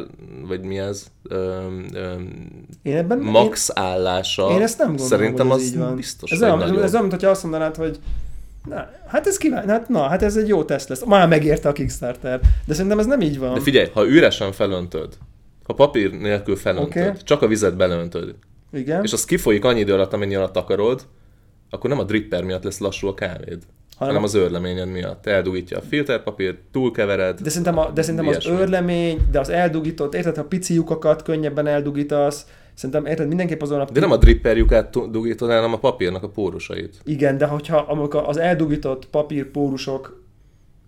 [SPEAKER 1] vagy mi ez, öm, öm,
[SPEAKER 2] Én ebben én-
[SPEAKER 1] max állása
[SPEAKER 2] Én ezt nem gondolom,
[SPEAKER 1] szerintem
[SPEAKER 2] hogy ez
[SPEAKER 1] az
[SPEAKER 2] így van.
[SPEAKER 1] biztos,
[SPEAKER 2] ez
[SPEAKER 1] hogy
[SPEAKER 2] olyan,
[SPEAKER 1] nagyon.
[SPEAKER 2] ez olyan, mintha azt mondanád, hogy na, hát ez kíván, hát, na, hát ez egy jó teszt lesz. Már megérte a Kickstarter. De szerintem ez nem így van.
[SPEAKER 1] De figyelj, ha üresen felöntöd, ha papír nélkül felöntöd,
[SPEAKER 2] Oké.
[SPEAKER 1] csak a vizet belöntöd,
[SPEAKER 2] Igen,
[SPEAKER 1] és az kifolyik annyi idő alatt, amennyi alatt akarod, akkor nem a dripper miatt lesz lassú a kávéd, hanem, hanem az őrleményed miatt. Eldugítja a filterpapírt, túlkevered.
[SPEAKER 2] de szerintem, a, de szerintem az
[SPEAKER 1] Ilyesmi.
[SPEAKER 2] őrlemény, de az eldugított, érted, ha pici lyukakat könnyebben eldugítasz, szerintem érted, mindenképp azon a...
[SPEAKER 1] De nem a dripper lyukát tu- dugítod, hanem a papírnak a pórusait.
[SPEAKER 2] Igen, de hogyha amikor az eldugított papírpórusok,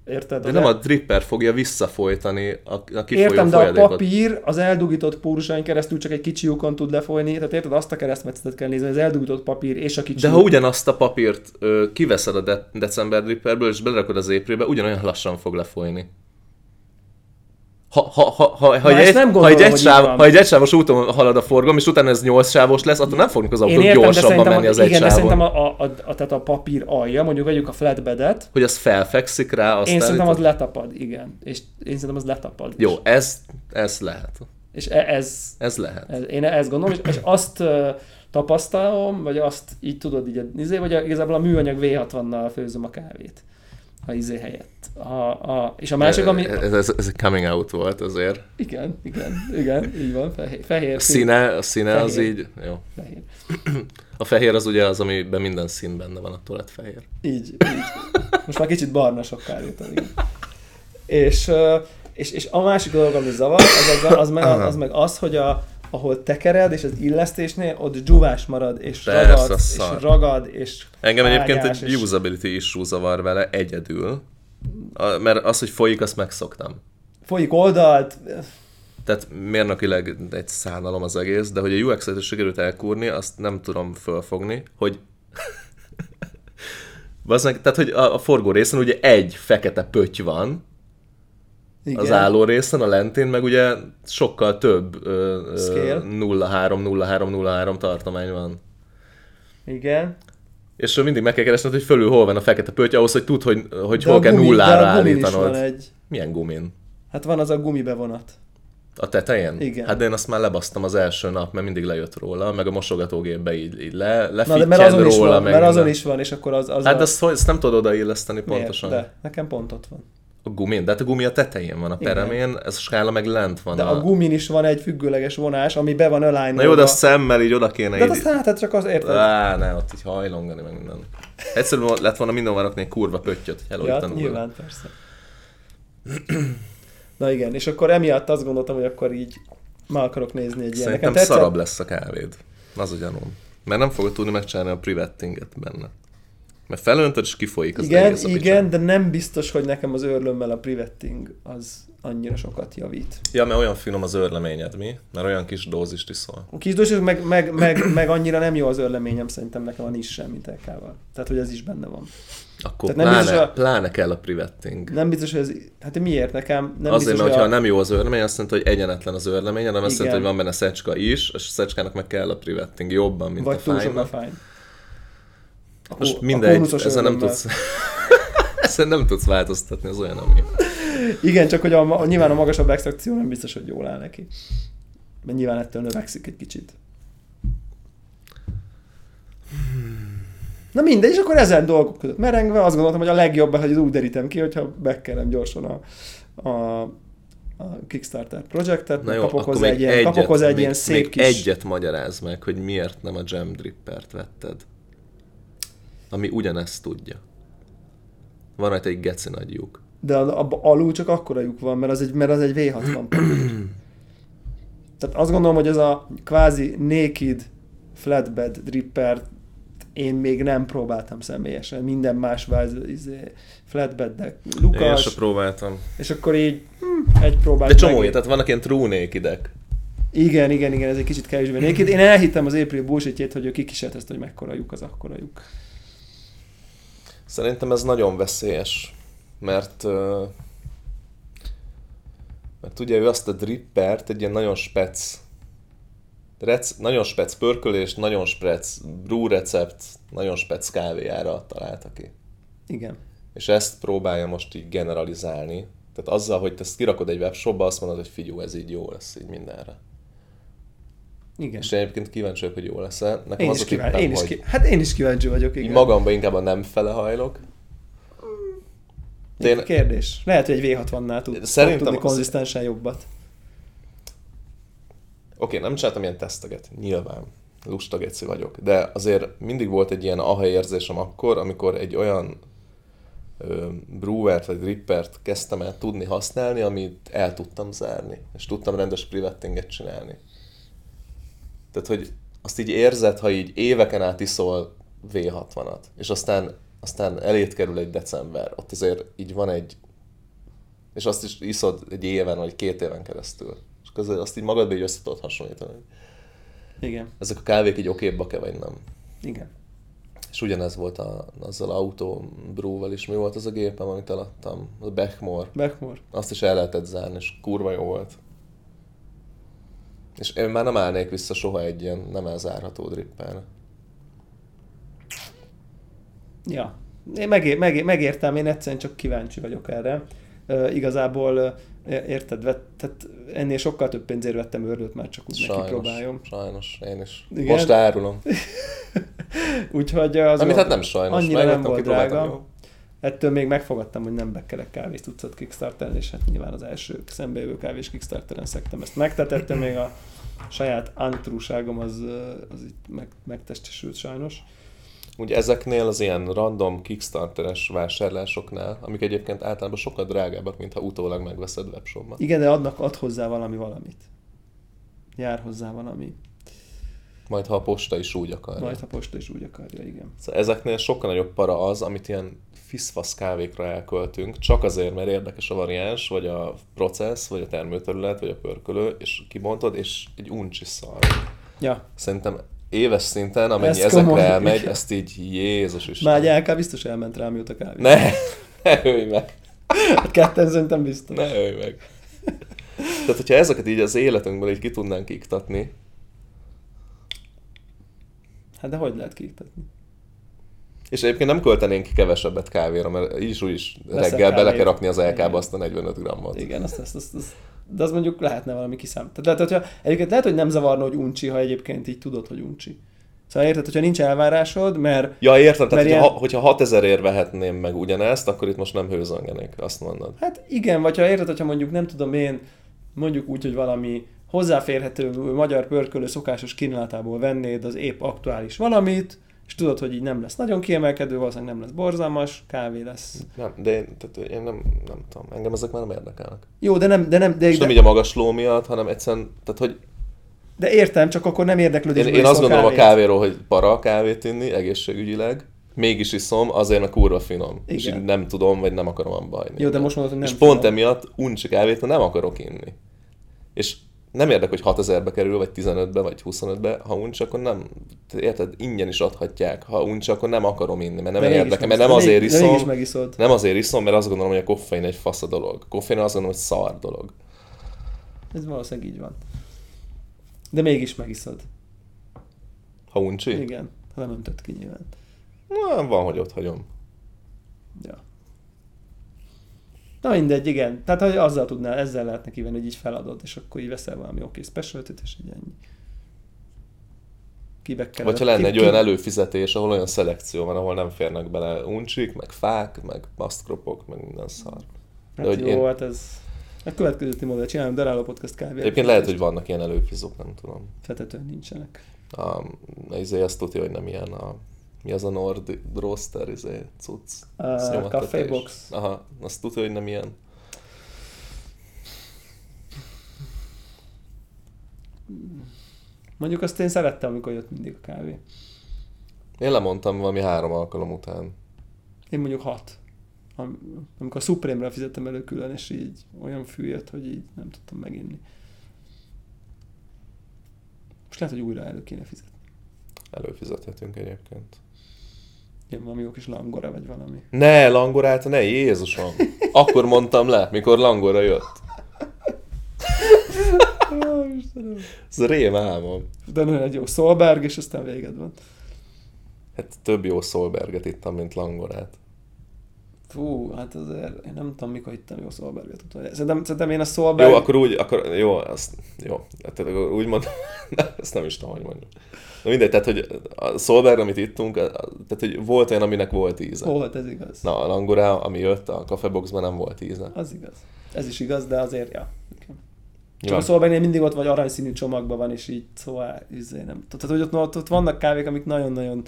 [SPEAKER 2] érted?
[SPEAKER 1] De
[SPEAKER 2] az
[SPEAKER 1] nem
[SPEAKER 2] el-
[SPEAKER 1] a dripper fogja visszafolytani a, a kifolyó
[SPEAKER 2] Értem, de a
[SPEAKER 1] folyadékot.
[SPEAKER 2] papír az eldugított pórusain keresztül csak egy kicsi lyukon tud lefolyni, tehát érted, azt a keresztmetszetet kell nézni, az eldugított papír és a kicsi
[SPEAKER 1] De ha
[SPEAKER 2] lyuk.
[SPEAKER 1] ugyanazt a papírt ö, kiveszed a de- december dripperből, és belerakod az éprébe, ugyanolyan lassan fog lefolyni. Ha, ha, ha, ha, ha,
[SPEAKER 2] Na,
[SPEAKER 1] egy,
[SPEAKER 2] ezt nem
[SPEAKER 1] ha,
[SPEAKER 2] gondolom,
[SPEAKER 1] egy
[SPEAKER 2] hogy így
[SPEAKER 1] egysáv,
[SPEAKER 2] van.
[SPEAKER 1] ha egy egysávos úton halad a forgalom, és utána ez nyolc sávos lesz, attól nem fognak az autók
[SPEAKER 2] de
[SPEAKER 1] gyorsabban
[SPEAKER 2] szerintem
[SPEAKER 1] menni
[SPEAKER 2] a-
[SPEAKER 1] az egy
[SPEAKER 2] Igen, de szerintem
[SPEAKER 1] sávon.
[SPEAKER 2] a, a, a, a, tehát a papír alja, mondjuk vegyük a flatbedet,
[SPEAKER 1] Hogy az felfekszik rá, azt
[SPEAKER 2] én szerintem az
[SPEAKER 1] állítod?
[SPEAKER 2] letapad, igen. És én szerintem az letapad.
[SPEAKER 1] Jó, ez, ez lehet.
[SPEAKER 2] És e, ez,
[SPEAKER 1] Ez lehet.
[SPEAKER 2] ez, én ezt gondolom, és, és azt ö, tapasztalom, vagy azt így tudod így, izé, vagy a- igazából a műanyag V60-nal főzöm a kávét a izé helyett. A, a, és a másik, ami...
[SPEAKER 1] Ez, ez, ez coming out volt azért.
[SPEAKER 2] Igen, igen, igen, így van, fehér. fehér
[SPEAKER 1] A színe, a színe az
[SPEAKER 2] Fehér.
[SPEAKER 1] így... Jó.
[SPEAKER 2] Fehér.
[SPEAKER 1] A fehér az ugye az, amiben minden szín benne van, attól lett fehér.
[SPEAKER 2] Így, így. Most már kicsit barna sok kár jut, igen. És, ö, és, és a másik dolog, ami zavar, az, az, az, meg, az, meg az, hogy a, ahol tekered, és az illesztésnél, ott dzsúvás marad, és
[SPEAKER 1] Persze,
[SPEAKER 2] ragad, és
[SPEAKER 1] szar.
[SPEAKER 2] ragad, és
[SPEAKER 1] Engem egyébként
[SPEAKER 2] vágás,
[SPEAKER 1] egy usability issue zavar vele egyedül, a, mert az, hogy folyik, azt megszoktam.
[SPEAKER 2] Folyik oldalt,
[SPEAKER 1] Tehát mérnökileg egy szánalom az egész, de hogy a UX-et is sikerült elkúrni, azt nem tudom fölfogni, hogy [LAUGHS] Bazdmeg, tehát, hogy a, a forgó részen ugye egy fekete pötty van,
[SPEAKER 2] igen.
[SPEAKER 1] az álló részen, a lentén meg ugye sokkal több ö, ö,
[SPEAKER 2] Scale.
[SPEAKER 1] 03-03-03 tartomány van.
[SPEAKER 2] Igen.
[SPEAKER 1] És mindig meg kell keresned, hogy fölül hol van a fekete pötty, ahhoz, hogy tudd, hogy, hogy
[SPEAKER 2] De
[SPEAKER 1] hol
[SPEAKER 2] a
[SPEAKER 1] kell
[SPEAKER 2] gumi-
[SPEAKER 1] nullára
[SPEAKER 2] de a gumin is
[SPEAKER 1] állítanod.
[SPEAKER 2] Van egy,
[SPEAKER 1] Milyen gumin?
[SPEAKER 2] hát van az a gumibevonat.
[SPEAKER 1] A tetején?
[SPEAKER 2] Igen.
[SPEAKER 1] Hát de én azt már lebasztam az első nap, mert mindig lejött róla, meg a mosogatógépbe így, így le,
[SPEAKER 2] Na, de
[SPEAKER 1] lefittyed
[SPEAKER 2] mert azon
[SPEAKER 1] róla.
[SPEAKER 2] is van,
[SPEAKER 1] meg
[SPEAKER 2] mert azon
[SPEAKER 1] minden.
[SPEAKER 2] is van, és akkor az... az
[SPEAKER 1] Hát
[SPEAKER 2] a...
[SPEAKER 1] azt, hogy- azt nem tudod odailleszteni
[SPEAKER 2] Miért?
[SPEAKER 1] pontosan.
[SPEAKER 2] De, nekem pont ott van.
[SPEAKER 1] A gumin, de hát a gumi a tetején van, a
[SPEAKER 2] Igen.
[SPEAKER 1] peremén, ez a skála meg lent van.
[SPEAKER 2] De a gumin is van egy függőleges vonás, ami be van align
[SPEAKER 1] Na jó, de a szemmel így oda kéne
[SPEAKER 2] De hát
[SPEAKER 1] így...
[SPEAKER 2] azt látod, csak az érted.
[SPEAKER 1] Á, ne, ott így hajlongani meg minden. Egyszerűen lett volna minden varakni egy kurva pöttyöt, hogy
[SPEAKER 2] Ja,
[SPEAKER 1] elolítan
[SPEAKER 2] hát nyilván, persze. Na igen, és akkor emiatt azt gondoltam, hogy akkor így már akarok nézni egy ilyen.
[SPEAKER 1] Szerintem
[SPEAKER 2] tetszett-
[SPEAKER 1] szarabb lesz a kávéd. Az a gyanúm. Mert nem fogod tudni megcsinálni a privettinget benne. Mert felöntöd és kifolyik az
[SPEAKER 2] Igen,
[SPEAKER 1] egész a
[SPEAKER 2] igen, de nem biztos, hogy nekem az őrlömmel a privetting az annyira sokat javít.
[SPEAKER 1] Ja, mert olyan finom az örleményed, mi? Mert olyan kis dózist iszol.
[SPEAKER 2] A kisdós, meg, meg, meg, meg, annyira nem jó az örleményem szerintem nekem a nissen, mint LK-val. Tehát, hogy ez is benne van.
[SPEAKER 1] Akkor
[SPEAKER 2] Tehát nem
[SPEAKER 1] pláne,
[SPEAKER 2] biztos
[SPEAKER 1] a...
[SPEAKER 2] a-
[SPEAKER 1] pláne kell a privetting.
[SPEAKER 2] Nem biztos, hogy ez... Hát miért nekem? Nem
[SPEAKER 1] Nem Azért,
[SPEAKER 2] biztos,
[SPEAKER 1] mert ha
[SPEAKER 2] hogy a-
[SPEAKER 1] nem jó az örlemény, azt jelenti, hogy egyenetlen az örlemény, hanem azt
[SPEAKER 2] Igen.
[SPEAKER 1] jelenti, hogy van benne szecska is, és a szecskának meg kell a privetting jobban, mint a
[SPEAKER 2] Vagy túl sok a
[SPEAKER 1] fájnak.
[SPEAKER 2] fájn. A
[SPEAKER 1] Most
[SPEAKER 2] kó- a
[SPEAKER 1] mindegy,
[SPEAKER 2] kónuszos
[SPEAKER 1] ezen nem
[SPEAKER 2] örlömmel.
[SPEAKER 1] tudsz... [LAUGHS] ezen nem tudsz változtatni, az olyan, ami.
[SPEAKER 2] Igen, csak hogy a, ma- nyilván a magasabb extrakció nem biztos, hogy jól áll neki. Mert nyilván ettől növekszik egy kicsit. Na mindegy, és akkor ezen dolgok között merengve azt gondoltam, hogy a legjobb, hát, hogy úgy derítem ki, hogyha bekerem gyorsan a, a, a Kickstarter projektet,
[SPEAKER 1] Na jó,
[SPEAKER 2] kapok
[SPEAKER 1] akkor
[SPEAKER 2] hozzá
[SPEAKER 1] még
[SPEAKER 2] egy ilyen,
[SPEAKER 1] egyet,
[SPEAKER 2] kapok hozzá egy
[SPEAKER 1] még,
[SPEAKER 2] ilyen szép
[SPEAKER 1] még
[SPEAKER 2] kis...
[SPEAKER 1] egyet magyaráz meg, hogy miért nem a Jam Drippert vetted. Ami ugyanezt tudja. Van rajta egy geci nagy lyuk.
[SPEAKER 2] De a, a, alul csak akkora lyuk van, mert az egy, mert az egy V60 papír. Tehát azt gondolom, hogy ez a kvázi naked flatbed dripper én még nem próbáltam személyesen. Minden más váz, izé, flatbeddek,
[SPEAKER 1] Én
[SPEAKER 2] lukas,
[SPEAKER 1] se próbáltam.
[SPEAKER 2] és akkor így hm, egy próbát.
[SPEAKER 1] De csomó
[SPEAKER 2] meg-
[SPEAKER 1] ilyet, tehát vannak ilyen true nakedek.
[SPEAKER 2] Igen, igen, igen, ez egy kicsit kevésbé naked. Én elhittem az April bullshitjét, hogy ő kikísértezte, hogy mekkora lyuk az akkora lyuk.
[SPEAKER 1] Szerintem ez nagyon veszélyes, mert ö, mert ugye ő azt a drippert egy ilyen nagyon spec rec, nagyon spec pörkölés, nagyon spec brew recept, nagyon spec kávéjára találta ki.
[SPEAKER 2] Igen.
[SPEAKER 1] És ezt próbálja most így generalizálni. Tehát azzal, hogy te ezt kirakod egy webshopba, azt mondod, hogy figyú, ez így jó lesz így mindenre.
[SPEAKER 2] Igen.
[SPEAKER 1] És én egyébként kíváncsi vagyok, hogy jó lesz-e. Nekem
[SPEAKER 2] Én
[SPEAKER 1] az
[SPEAKER 2] is,
[SPEAKER 1] a
[SPEAKER 2] kíváncsi,
[SPEAKER 1] tippem,
[SPEAKER 2] én is
[SPEAKER 1] hogy
[SPEAKER 2] ki, hát én is kíváncsi vagyok,
[SPEAKER 1] így
[SPEAKER 2] igen.
[SPEAKER 1] magamba inkább a nem fele hajlok. De én,
[SPEAKER 2] Kérdés. Lehet, hogy egy V60-nál tud,
[SPEAKER 1] Szerintem
[SPEAKER 2] Szerintem tudni
[SPEAKER 1] az-
[SPEAKER 2] konzisztensen jobbat.
[SPEAKER 1] Oké, nem csináltam ilyen teszteget, nyilván. Lusta geci vagyok. De azért mindig volt egy ilyen aha érzésem akkor, amikor egy olyan ö, brewert vagy rippert kezdtem el tudni használni, amit el tudtam zárni. És tudtam rendes privettinget csinálni. Tehát, hogy azt így érzed, ha így éveken át iszol V60-at, és aztán, aztán elét kerül egy december. Ott azért így van egy és azt is iszod egy éven, vagy két éven keresztül. És közben azt így magadba így össze tudod hasonlítani. hogy
[SPEAKER 2] Igen,
[SPEAKER 1] Ezek a kávék így okébbak-e, vagy nem.
[SPEAKER 2] igen.
[SPEAKER 1] És ugyanez volt a, azzal autó brúval is. Mi volt az a gépem, amit eladtam? A Beckmore.
[SPEAKER 2] Backmore.
[SPEAKER 1] Azt is el lehetett zárni, és kurva jó volt. És én már nem állnék vissza soha egy ilyen nem elzárható drippel.
[SPEAKER 2] Ja. Én megér, megér, megértem, én egyszerűen csak kíváncsi vagyok erre. Ö, igazából ö, érted, vett, tehát ennél sokkal több pénzért vettem őrlőt, már csak úgy neki
[SPEAKER 1] Sajnos,
[SPEAKER 2] próbáljam.
[SPEAKER 1] sajnos, én is.
[SPEAKER 2] Igen?
[SPEAKER 1] Igen? Most árulom.
[SPEAKER 2] Úgyhogy az
[SPEAKER 1] Amit
[SPEAKER 2] volt-
[SPEAKER 1] hát nem sajnos,
[SPEAKER 2] annyira nem
[SPEAKER 1] megvettem,
[SPEAKER 2] volt
[SPEAKER 1] kipróbáltam,
[SPEAKER 2] drága.
[SPEAKER 1] jó.
[SPEAKER 2] Ettől még megfogadtam, hogy nem bekelek kávés tucat kickstarter és hát nyilván az első szembejövő kávés Kickstarteren szektem ezt meg, tehát ettől még a saját antrúságom az, ö, az itt meg, megtestesült sajnos.
[SPEAKER 1] Ugye ezeknél az ilyen random kickstarteres vásárlásoknál, amik egyébként általában sokkal drágábbak, mint ha utólag megveszed webshopban.
[SPEAKER 2] Igen, de adnak, ad hozzá valami valamit. Jár hozzá valami.
[SPEAKER 1] Majd ha a posta is úgy akar.
[SPEAKER 2] Majd a posta is úgy akarja, igen.
[SPEAKER 1] Szóval ezeknél sokkal nagyobb para az, amit ilyen fiszfasz kávékra elköltünk, csak azért, mert érdekes a variáns, vagy a processz, vagy a termőterület, vagy a pörkölő, és kibontod, és egy uncsi szar.
[SPEAKER 2] Ja,
[SPEAKER 1] Szerintem éves szinten, amennyi
[SPEAKER 2] Ez
[SPEAKER 1] ezekre
[SPEAKER 2] komoly.
[SPEAKER 1] elmegy, ezt így Jézus Isten.
[SPEAKER 2] már egy LK biztos elment rám, jut a kávé.
[SPEAKER 1] Ne, ne ölj meg.
[SPEAKER 2] Hát ketten szerintem biztos.
[SPEAKER 1] Ne ölj meg. Tehát, hogyha ezeket így az életünkből így ki tudnánk iktatni,
[SPEAKER 2] Hát de hogy lehet kiiktatni?
[SPEAKER 1] és egyébként nem költenénk ki kevesebbet kávéra, mert így is úgy is
[SPEAKER 2] Veszel
[SPEAKER 1] reggel bele
[SPEAKER 2] kávét.
[SPEAKER 1] kell rakni az
[SPEAKER 2] Igen.
[SPEAKER 1] LK-ba azt a 45 grammot.
[SPEAKER 2] Igen, azt, azt, azt, azt, de az mondjuk lehetne valami kiszám. Tehát, tehát hogyha, egyébként lehet, hogy nem zavarna, hogy uncsi, ha egyébként így tudod, hogy uncsi. Szóval érted, hogyha nincs elvárásod, mert
[SPEAKER 1] Ja, értem, tehát
[SPEAKER 2] Mert
[SPEAKER 1] hogyha,
[SPEAKER 2] ilyen-
[SPEAKER 1] ilyen... hogyha 6000 ér vehetném meg ugyanezt, akkor itt most nem hőzöngenék, azt mondod.
[SPEAKER 2] hát igen, vagy ha érted, hogyha mondjuk nem tudom én, mondjuk úgy, hogy valami hozzáférhető magyar pörkölő szokásos kínálatából vennéd az épp aktuális valamit, és tudod, hogy így nem lesz nagyon kiemelkedő, valószínűleg nem lesz borzalmas, kávé lesz.
[SPEAKER 1] Nem, de én, tehát én nem, nem tudom, engem ezek már nem érdekelnek.
[SPEAKER 2] Jó, de nem, de nem, de,
[SPEAKER 1] És nem
[SPEAKER 2] de,
[SPEAKER 1] így a magas ló miatt, hanem egyszerűen, tehát hogy
[SPEAKER 2] de értem, csak akkor nem
[SPEAKER 1] én,
[SPEAKER 2] érdeklődésből
[SPEAKER 1] én azt
[SPEAKER 2] iszol
[SPEAKER 1] gondolom a
[SPEAKER 2] kávét.
[SPEAKER 1] kávéról, hogy para a kávét inni egészségügyileg, mégis iszom, azért mert kurva finom. És
[SPEAKER 2] Igen.
[SPEAKER 1] így nem tudom, vagy nem akarom abba hagyni.
[SPEAKER 2] Jó, de most mondod, hogy nem.
[SPEAKER 1] és pont
[SPEAKER 2] tudom.
[SPEAKER 1] emiatt uncsi kávét mert nem akarok inni. És nem érdekel, hogy 6000-be kerül, vagy 15-be, vagy 25-be, ha uncsi, akkor nem, te érted, ingyen is adhatják, ha uncsi, akkor nem akarom inni, mert nem
[SPEAKER 2] De mégis
[SPEAKER 1] érdekel, mert nem
[SPEAKER 2] megiszod. De
[SPEAKER 1] azért
[SPEAKER 2] mégis- de
[SPEAKER 1] iszom,
[SPEAKER 2] Mégis megiszod.
[SPEAKER 1] nem azért iszom, mert azt gondolom, hogy a koffein egy fasz a dolog. Koffein azt gondolom, hogy szar dolog.
[SPEAKER 2] Ez valószínűleg így van. De mégis megiszod.
[SPEAKER 1] Ha uncsi? Igen.
[SPEAKER 2] Igen. Ha nem öntött ki nyilván.
[SPEAKER 1] Na, van, hogy ott hagyom.
[SPEAKER 2] Ja. Na mindegy, igen. Tehát hogy azzal tudnál, ezzel lehetne kivenni, hogy így feladod, és akkor így veszel valami oké specialty és így ennyi. kibekkeled.
[SPEAKER 1] Vagy ha lenne egy olyan előfizetés, ahol olyan szelekció van, ahol nem férnek bele uncsik, meg fák, meg masztkropok, meg minden szar.
[SPEAKER 2] Hát
[SPEAKER 1] hogy
[SPEAKER 2] jó,
[SPEAKER 1] én-
[SPEAKER 2] én... hát ez... A következő modell, csinálom Daráló Podcast kávé.
[SPEAKER 1] Egyébként lehet, hogy vannak ilyen előfizók, nem tudom.
[SPEAKER 2] Fetetőn nincsenek.
[SPEAKER 1] A, izé, azt tudja, hogy nem ilyen a... Mi az a Nord Roster, izé, cucc?
[SPEAKER 2] A
[SPEAKER 1] Ez nyomattatás.
[SPEAKER 2] Café Box.
[SPEAKER 1] Aha, azt tudja, hogy nem ilyen.
[SPEAKER 2] Mondjuk azt én szerettem, amikor jött mindig a kávé.
[SPEAKER 1] Én lemondtam valami három alkalom után.
[SPEAKER 2] Én mondjuk hat. Am- Amikor a Supreme-re fizettem elő külön, és így olyan fű jött, hogy így nem tudtam meginni. Most lehet, hogy újra elő kéne fizetni.
[SPEAKER 1] Előfizethetünk egyébként.
[SPEAKER 2] Ilyen valami jó kis langora, vagy valami.
[SPEAKER 1] Ne, langorát, ne,
[SPEAKER 2] [LAUGHS]
[SPEAKER 1] Jézusom! Akkor mondtam le, mikor langora jött.
[SPEAKER 2] Ó, Istenem.
[SPEAKER 1] Ez a rém álmom.
[SPEAKER 2] De nagyon egy jó Szolberg, és aztán véged van.
[SPEAKER 1] Hát több jó Szolberget ittam, mint langorát.
[SPEAKER 2] Fú, hát azért én nem tudom, mikor hittem jó Szolberget. utoljára. Szerintem, szerintem én a Szolberg...
[SPEAKER 1] Jó, akkor úgy, akkor jó, azt, jó, hát akkor úgy mondom, ezt [LAUGHS] nem is tudom, hogy mondjam. Na mindegy, tehát, hogy a Szolberg, amit ittunk, a- a- tehát, hogy volt olyan, aminek volt íze.
[SPEAKER 2] Volt, hát ez igaz.
[SPEAKER 1] Na, a langorá, ami jött a kafeboxban, nem volt íze.
[SPEAKER 2] Az igaz. Ez is igaz, de azért, ja. Nekem. Csak a
[SPEAKER 1] Nyilván,
[SPEAKER 2] Szolbergnél mindig ott vagy aranyszínű csomagban van, és így szóval, üzé, nem Tehát, hogy ott, ott, ott, vannak kávék, amik nagyon-nagyon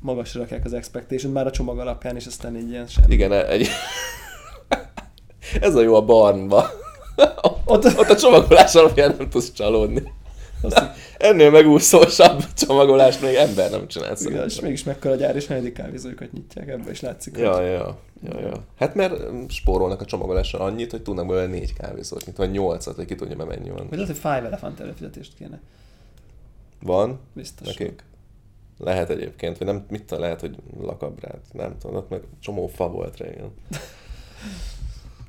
[SPEAKER 2] magasra rakják az expectation már a csomag alapján, és aztán így ilyen sem.
[SPEAKER 1] igen, e- egy... [LAUGHS] ez a jó a barnba.
[SPEAKER 2] [LAUGHS] Ott
[SPEAKER 1] Ott a csomagolás alapján nem tudsz csalódni.
[SPEAKER 2] azt
[SPEAKER 1] Ennél megúszósabb csomagolást még ember nem csinál
[SPEAKER 2] mondja, és
[SPEAKER 1] szerintem.
[SPEAKER 2] mégis mekkora gyár, és negyedik kávézóikat nyitják, ebből is látszik, hogy
[SPEAKER 1] Ja, ja, ja, ja. Hát mert mm, spórolnak a csomagolással annyit, hogy tudnak belőle négy kávézót nyitni, vagy nyolcat, vagy ki tudja, mert mennyi van.
[SPEAKER 2] Vagy lehet, hogy Five Elephant előfizetést kéne.
[SPEAKER 1] Van
[SPEAKER 2] Biztos.
[SPEAKER 1] nekik? Lehet egyébként, vagy nem, mit tudom, lehet, hogy lakabrát, nem tudom, ott meg csomó fa volt régen.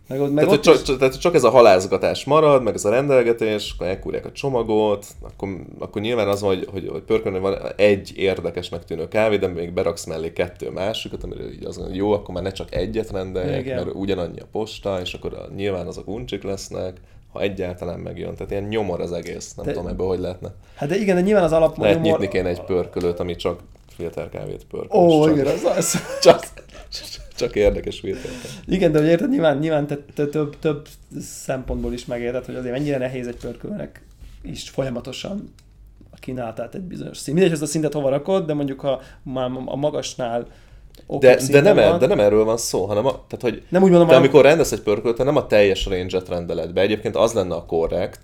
[SPEAKER 2] Meg, ott, meg
[SPEAKER 1] Tehát,
[SPEAKER 2] ott
[SPEAKER 1] hogy csak, csak, tehát csak ez a halázgatás marad, meg ez a rendelgetés, akkor elkúrják a csomagot, akkor, akkor nyilván az van, hogy, hogy, hogy pörkölni van egy érdekesnek tűnő kávé, de még beraksz mellé kettő másikat, amire így azt mondod, hogy jó, akkor már ne csak egyet rendeljek,
[SPEAKER 2] Igen.
[SPEAKER 1] mert ugyanannyi a posta, és akkor a, nyilván azok uncsik lesznek, ha egyáltalán megjön. Tehát ilyen nyomor az egész, nem
[SPEAKER 2] De-
[SPEAKER 1] tudom ebből, hogy lehetne.
[SPEAKER 2] Hát de igen, de nyilván az alap...
[SPEAKER 1] Lehet
[SPEAKER 2] nyomor-
[SPEAKER 1] nyitni kéne egy pörkölőt, ami csak filterkávét pörköl.
[SPEAKER 2] Ó,
[SPEAKER 1] és
[SPEAKER 2] igen,
[SPEAKER 1] csak,
[SPEAKER 2] az, az, [LAUGHS]
[SPEAKER 1] csak, csak érdekes filterkávét.
[SPEAKER 2] Igen, de ugye érted, nyilván, nyilván te, te több, több szempontból is megérted, hogy azért mennyire nehéz egy pörkölnek is folyamatosan a kínálatát egy bizonyos szint. Mindegy, hogy azt a szintet hova rakod, de mondjuk ha már a magasnál oké
[SPEAKER 1] De, de,
[SPEAKER 2] szinten
[SPEAKER 1] nem,
[SPEAKER 2] van-
[SPEAKER 1] er, de nem erről van szó, hanem a, tehát, hogy
[SPEAKER 2] Nem úgy mondom,
[SPEAKER 1] te
[SPEAKER 2] hanem-
[SPEAKER 1] amikor rendelsz egy pörkölt, te nem a teljes range-et rendeled be. Egyébként az lenne a korrekt,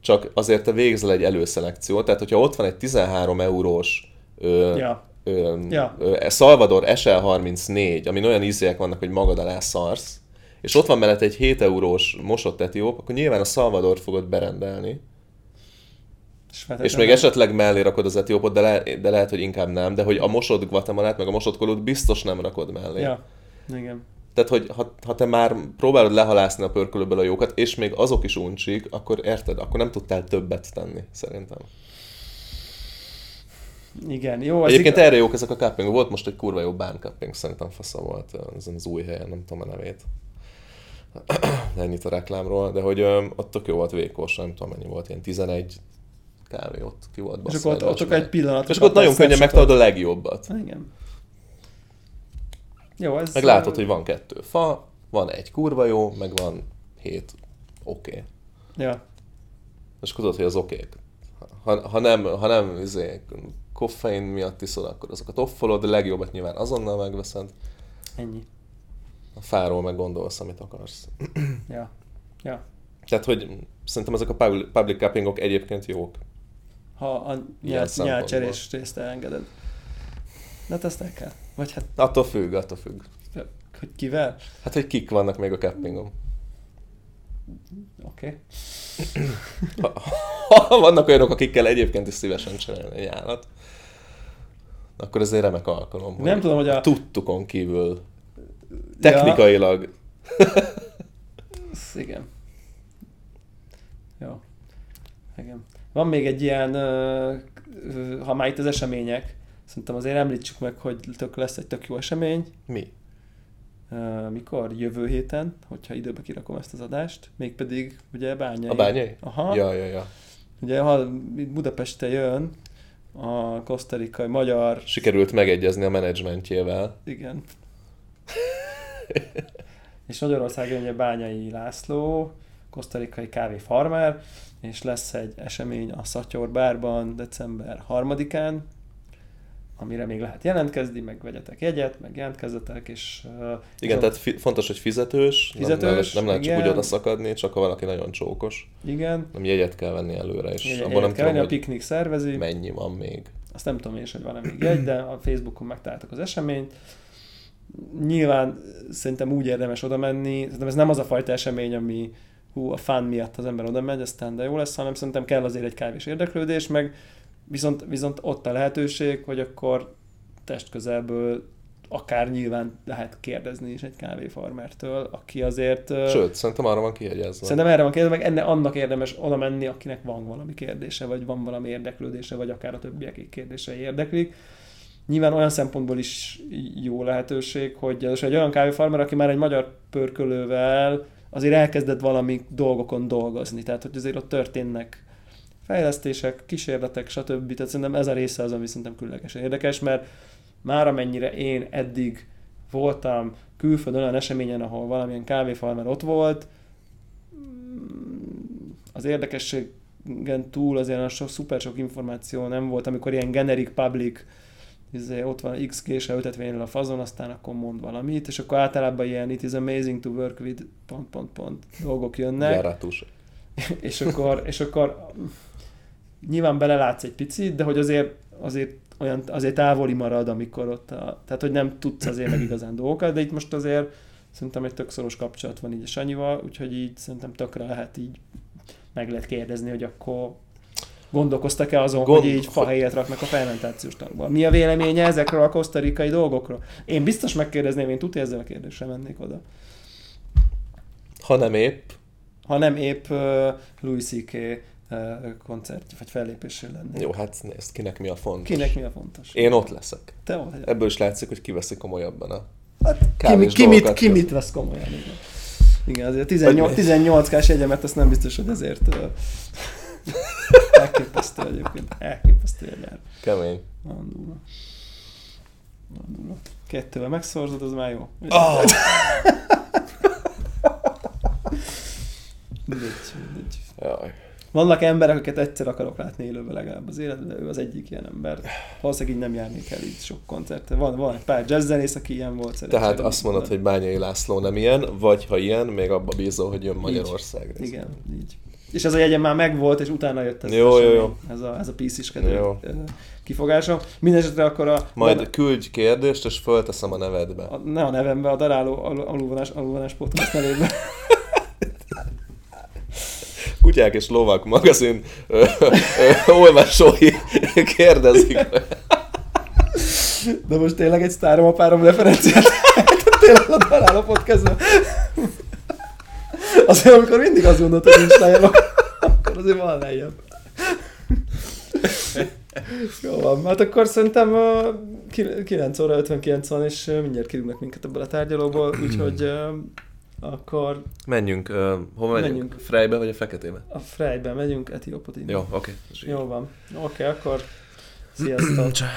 [SPEAKER 1] csak azért te végzel egy előszelekciót, tehát hogyha ott van egy 13 eurós ö,
[SPEAKER 2] Ja.
[SPEAKER 1] Ö,
[SPEAKER 2] Ja.
[SPEAKER 1] ö, e, Salvador SL34, amin olyan ízek vannak, hogy magad alá szarsz, és ott van mellett egy 7 eurós mosott etióp, akkor nyilván a Salvador fogod berendelni,
[SPEAKER 2] És,
[SPEAKER 1] és
[SPEAKER 2] feltétlenül-
[SPEAKER 1] még esetleg mellé rakod az etiópot, de, le, de lehet, hogy inkább nem, de hogy a mosott guatemalát, meg a mosott kolót biztos nem rakod mellé.
[SPEAKER 2] Ja, igen.
[SPEAKER 1] Tehát, hogy ha, ha te már próbálod lehalászni a pörkölőből a jókat, és még azok is uncsik, akkor érted, akkor nem tudtál többet tenni, szerintem.
[SPEAKER 2] Igen, jó. az
[SPEAKER 1] Egyébként
[SPEAKER 2] igaz.
[SPEAKER 1] erre jók ezek a cuppingok. Volt most egy kurva jó bán cupping, szerintem fasza volt ö, ezen az új helyen, nem tudom a nevét. [CLEARS THROAT] Ennyit a reklámról, de hogy ö, ott tök jó volt vékos, nem tudom mennyi volt, ilyen 11 kávé ott ki volt
[SPEAKER 2] És
[SPEAKER 1] basszva
[SPEAKER 2] akkor ott, ott csak
[SPEAKER 1] vasmereg.
[SPEAKER 2] egy pillanat.
[SPEAKER 1] És akkor ott nagyon könnyen megtalálod a legjobbat.
[SPEAKER 2] Igen. Jó, ez...
[SPEAKER 1] Meg látod, hogy van kettő fa, van egy kurva jó, meg van hét oké. Okay.
[SPEAKER 2] Ja,
[SPEAKER 1] És akkor tudod, hogy az okék. Ha, ha nem, ha nem izé, koffein miatt iszol, akkor azokat offolod, de legjobbat nyilván azonnal megveszed.
[SPEAKER 2] ennyi.
[SPEAKER 1] A fáról meg gondolsz, amit akarsz.
[SPEAKER 2] Ja, ja.
[SPEAKER 1] Tehát, hogy szerintem ezek a pub- public cuppingok egyébként jók.
[SPEAKER 2] ha a
[SPEAKER 1] Ilyen
[SPEAKER 2] nyel-
[SPEAKER 1] szempontból.
[SPEAKER 2] nyelcserés részt elengeded. De hát azt el kell. Vagy hát,
[SPEAKER 1] Attól függ, attól függ.
[SPEAKER 2] hogy kivel?
[SPEAKER 1] Hát, hogy kik vannak még a cuppingom.
[SPEAKER 2] Oké. Okay.
[SPEAKER 1] Ha [LAUGHS] vannak olyanok, akikkel egyébként is szívesen csinálni egy állat, akkor ez egy remek alkalom.
[SPEAKER 2] Nem tudom, hogy a-
[SPEAKER 1] Tudtukon kívül technikailag ja.
[SPEAKER 2] Ja, igen. Jó. Igen. Van még egy ilyen, ö, ö, ha már itt az események, szerintem azért említsük meg, hogy tök lesz egy tök jó esemény,
[SPEAKER 1] mi?
[SPEAKER 2] Ö, mikor? Jövő héten, hogyha időbe kirakom ezt az adást, mégpedig ugye bányai.
[SPEAKER 1] A bányai?
[SPEAKER 2] Aha.
[SPEAKER 1] Ja, ja, ja.
[SPEAKER 2] Ugye ha Budapestre jön a kosztarikai magyar,
[SPEAKER 1] Sikerült megegyezni a menedzsmentjével. [LAUGHS]
[SPEAKER 2] igen. és Magyarországon ugye Bányai László, kosztarikai kávé farmer, és lesz egy esemény a Szatyor bárban december 3-án, amire még lehet jelentkezni, meg vegyetek jegyet, meg jelentkezzetek, és... uh,
[SPEAKER 1] Igen,
[SPEAKER 2] és
[SPEAKER 1] tehát fi- fontos, hogy fizetős, nem,
[SPEAKER 2] Fizetős,
[SPEAKER 1] lehet, nem lehet csak
[SPEAKER 2] igen.
[SPEAKER 1] úgy oda szakadni, csak ha valaki nagyon csókos.
[SPEAKER 2] Igen,
[SPEAKER 1] Nem jegyet kell venni előre, és
[SPEAKER 2] jegyet
[SPEAKER 1] abban nem
[SPEAKER 2] kell venni,
[SPEAKER 1] tudom, hogy
[SPEAKER 2] a piknik szervezi.
[SPEAKER 1] mennyi van még.
[SPEAKER 2] azt nem tudom én is, hogy van-e még egy, de a Facebookon megtaláltak az eseményt. Nyilván szerintem úgy érdemes oda menni, szerintem ez nem az a fajta esemény, ami hú, a fán miatt az ember oda megy, aztán de jó lesz, hanem szerintem kell azért egy kávés érdeklődés, meg viszont, viszont ott a lehetőség, hogy akkor testközelből akár nyilván lehet kérdezni is egy kávéfarmertől, aki azért... ö,
[SPEAKER 1] Sőt, szerintem arra van kiegyezve.
[SPEAKER 2] Szerintem erre van kérdés, meg enne, annak érdemes oda menni, akinek van valami kérdése, vagy van valami érdeklődése, vagy akár a többiek kérdései érdeklik. Nyilván olyan szempontból is jó lehetőség, hogy az egy olyan kávéfarmer, aki már egy magyar pörkölővel azért elkezdett valami dolgokon dolgozni, tehát hogy azért ott történnek fejlesztések, kísérletek, stb. Tehát szerintem ez a része az, ami szerintem különlegesen érdekes, mert már amennyire én eddig voltam külföldön olyan eseményen, ahol valamilyen kávéfarmer ott volt, mm, az érdekességen túl azért olyan sok, szuper sok információ nem volt, amikor ilyen generic public, izé, ott van X kése ültetvényel a fazon, aztán akkor mond valamit, és akkor általában ilyen it is amazing to work with pont, pont, pont dolgok jönnek
[SPEAKER 1] Járatus.
[SPEAKER 2] [LAUGHS] és akkor, és akkor nyilván belelátsz egy picit, de hogy azért, azért olyan, azért távoli marad, amikor ott, a, tehát hogy nem tudsz azért meg igazán dolgokat, de itt most azért szerintem egy tök szoros kapcsolat van így a Sanyival, úgyhogy így szerintem tökre lehet így meg lehet kérdezni, hogy akkor gondolkoztak-e azon,
[SPEAKER 1] Gond-
[SPEAKER 2] hogy így fahelyet raknak a fermentációs tankba. Mi a véleménye ezekről a kosztarikai dolgokról? Én biztos megkérdezném, én tudja ezzel a kérdéssel mennék oda.
[SPEAKER 1] Ha nem épp,
[SPEAKER 2] ha nem épp uh, Louis C.K. Uh, koncertje, vagy fellépésén lenni.
[SPEAKER 1] jó, hát nézd, kinek mi a fontos.
[SPEAKER 2] Kinek mi a fontos?
[SPEAKER 1] Én ott leszek.
[SPEAKER 2] Te vagy.
[SPEAKER 1] Ebből is látszik, hogy kiveszi komolyabban a
[SPEAKER 2] Hát, Ki, mi-
[SPEAKER 1] kávés
[SPEAKER 2] ki, mit,
[SPEAKER 1] dolgokat
[SPEAKER 2] ki
[SPEAKER 1] köz.
[SPEAKER 2] mit vesz komolyan? Igen, igen azért 18, 18 kás jegyemet azt nem biztos, hogy ezért uh, [LAUGHS] elképesztő egyébként. Elképesztő egy jár.
[SPEAKER 1] Kemény.
[SPEAKER 2] Nagyon durva. Nagyon durva. Kettővel megszorzod, az már jó.
[SPEAKER 1] Oh!
[SPEAKER 2] [LAUGHS] Mindegy, mindegy.
[SPEAKER 1] Jaj.
[SPEAKER 2] Vannak emberek, akiket egyszer akarok látni élőben legalább az életben, ő az egyik ilyen ember. Valószínűleg így nem járnék el így sok koncertre. Van, van egy pár jazzzenész, aki ilyen volt. szerencsére.
[SPEAKER 1] Tehát azt mondod, hogy Bányai László nem ilyen, vagy ha ilyen, még abba bízol, hogy jön Magyarországra.
[SPEAKER 2] Igen, így. És ez a jegyem már megvolt, és utána jött ez,
[SPEAKER 1] Jó,
[SPEAKER 2] az
[SPEAKER 1] jó,
[SPEAKER 2] esemény.
[SPEAKER 1] jó.
[SPEAKER 2] ez a, ez a pisziskedő
[SPEAKER 1] Jó.
[SPEAKER 2] ö, kifogásom. Mindenesetre akkor a,
[SPEAKER 1] Majd küldj kérdést, és fölteszem a nevedbe.
[SPEAKER 2] a, ne a nevembe, a daráló al, alulvonás, alulvonás podcast nevében.
[SPEAKER 1] Kutyák és lovak magazin ö, ö, ö, olvasói kérdezik.
[SPEAKER 2] De most tényleg egy sztárom a párom referenciát. tényleg a daráló podcastban. Azért, amikor mindig azt gondolod, hogy nincs lejjebb, akkor azért van lejjebb. Jó van, hát akkor szerintem ö, ki- 9 óra 59 van, és ö, mindjárt kirúgnak minket ebből a tárgyalóból, úgyhogy ö, akkor
[SPEAKER 1] Menjünk, ö, hova menjünk?
[SPEAKER 2] Menjünk.
[SPEAKER 1] menjünk? Frejbe vagy a feketébe?
[SPEAKER 2] a Frejbe megyünk, Etiópot innen.
[SPEAKER 1] Jó, oké.
[SPEAKER 2] Jó van. Oké, akkor sziasztok.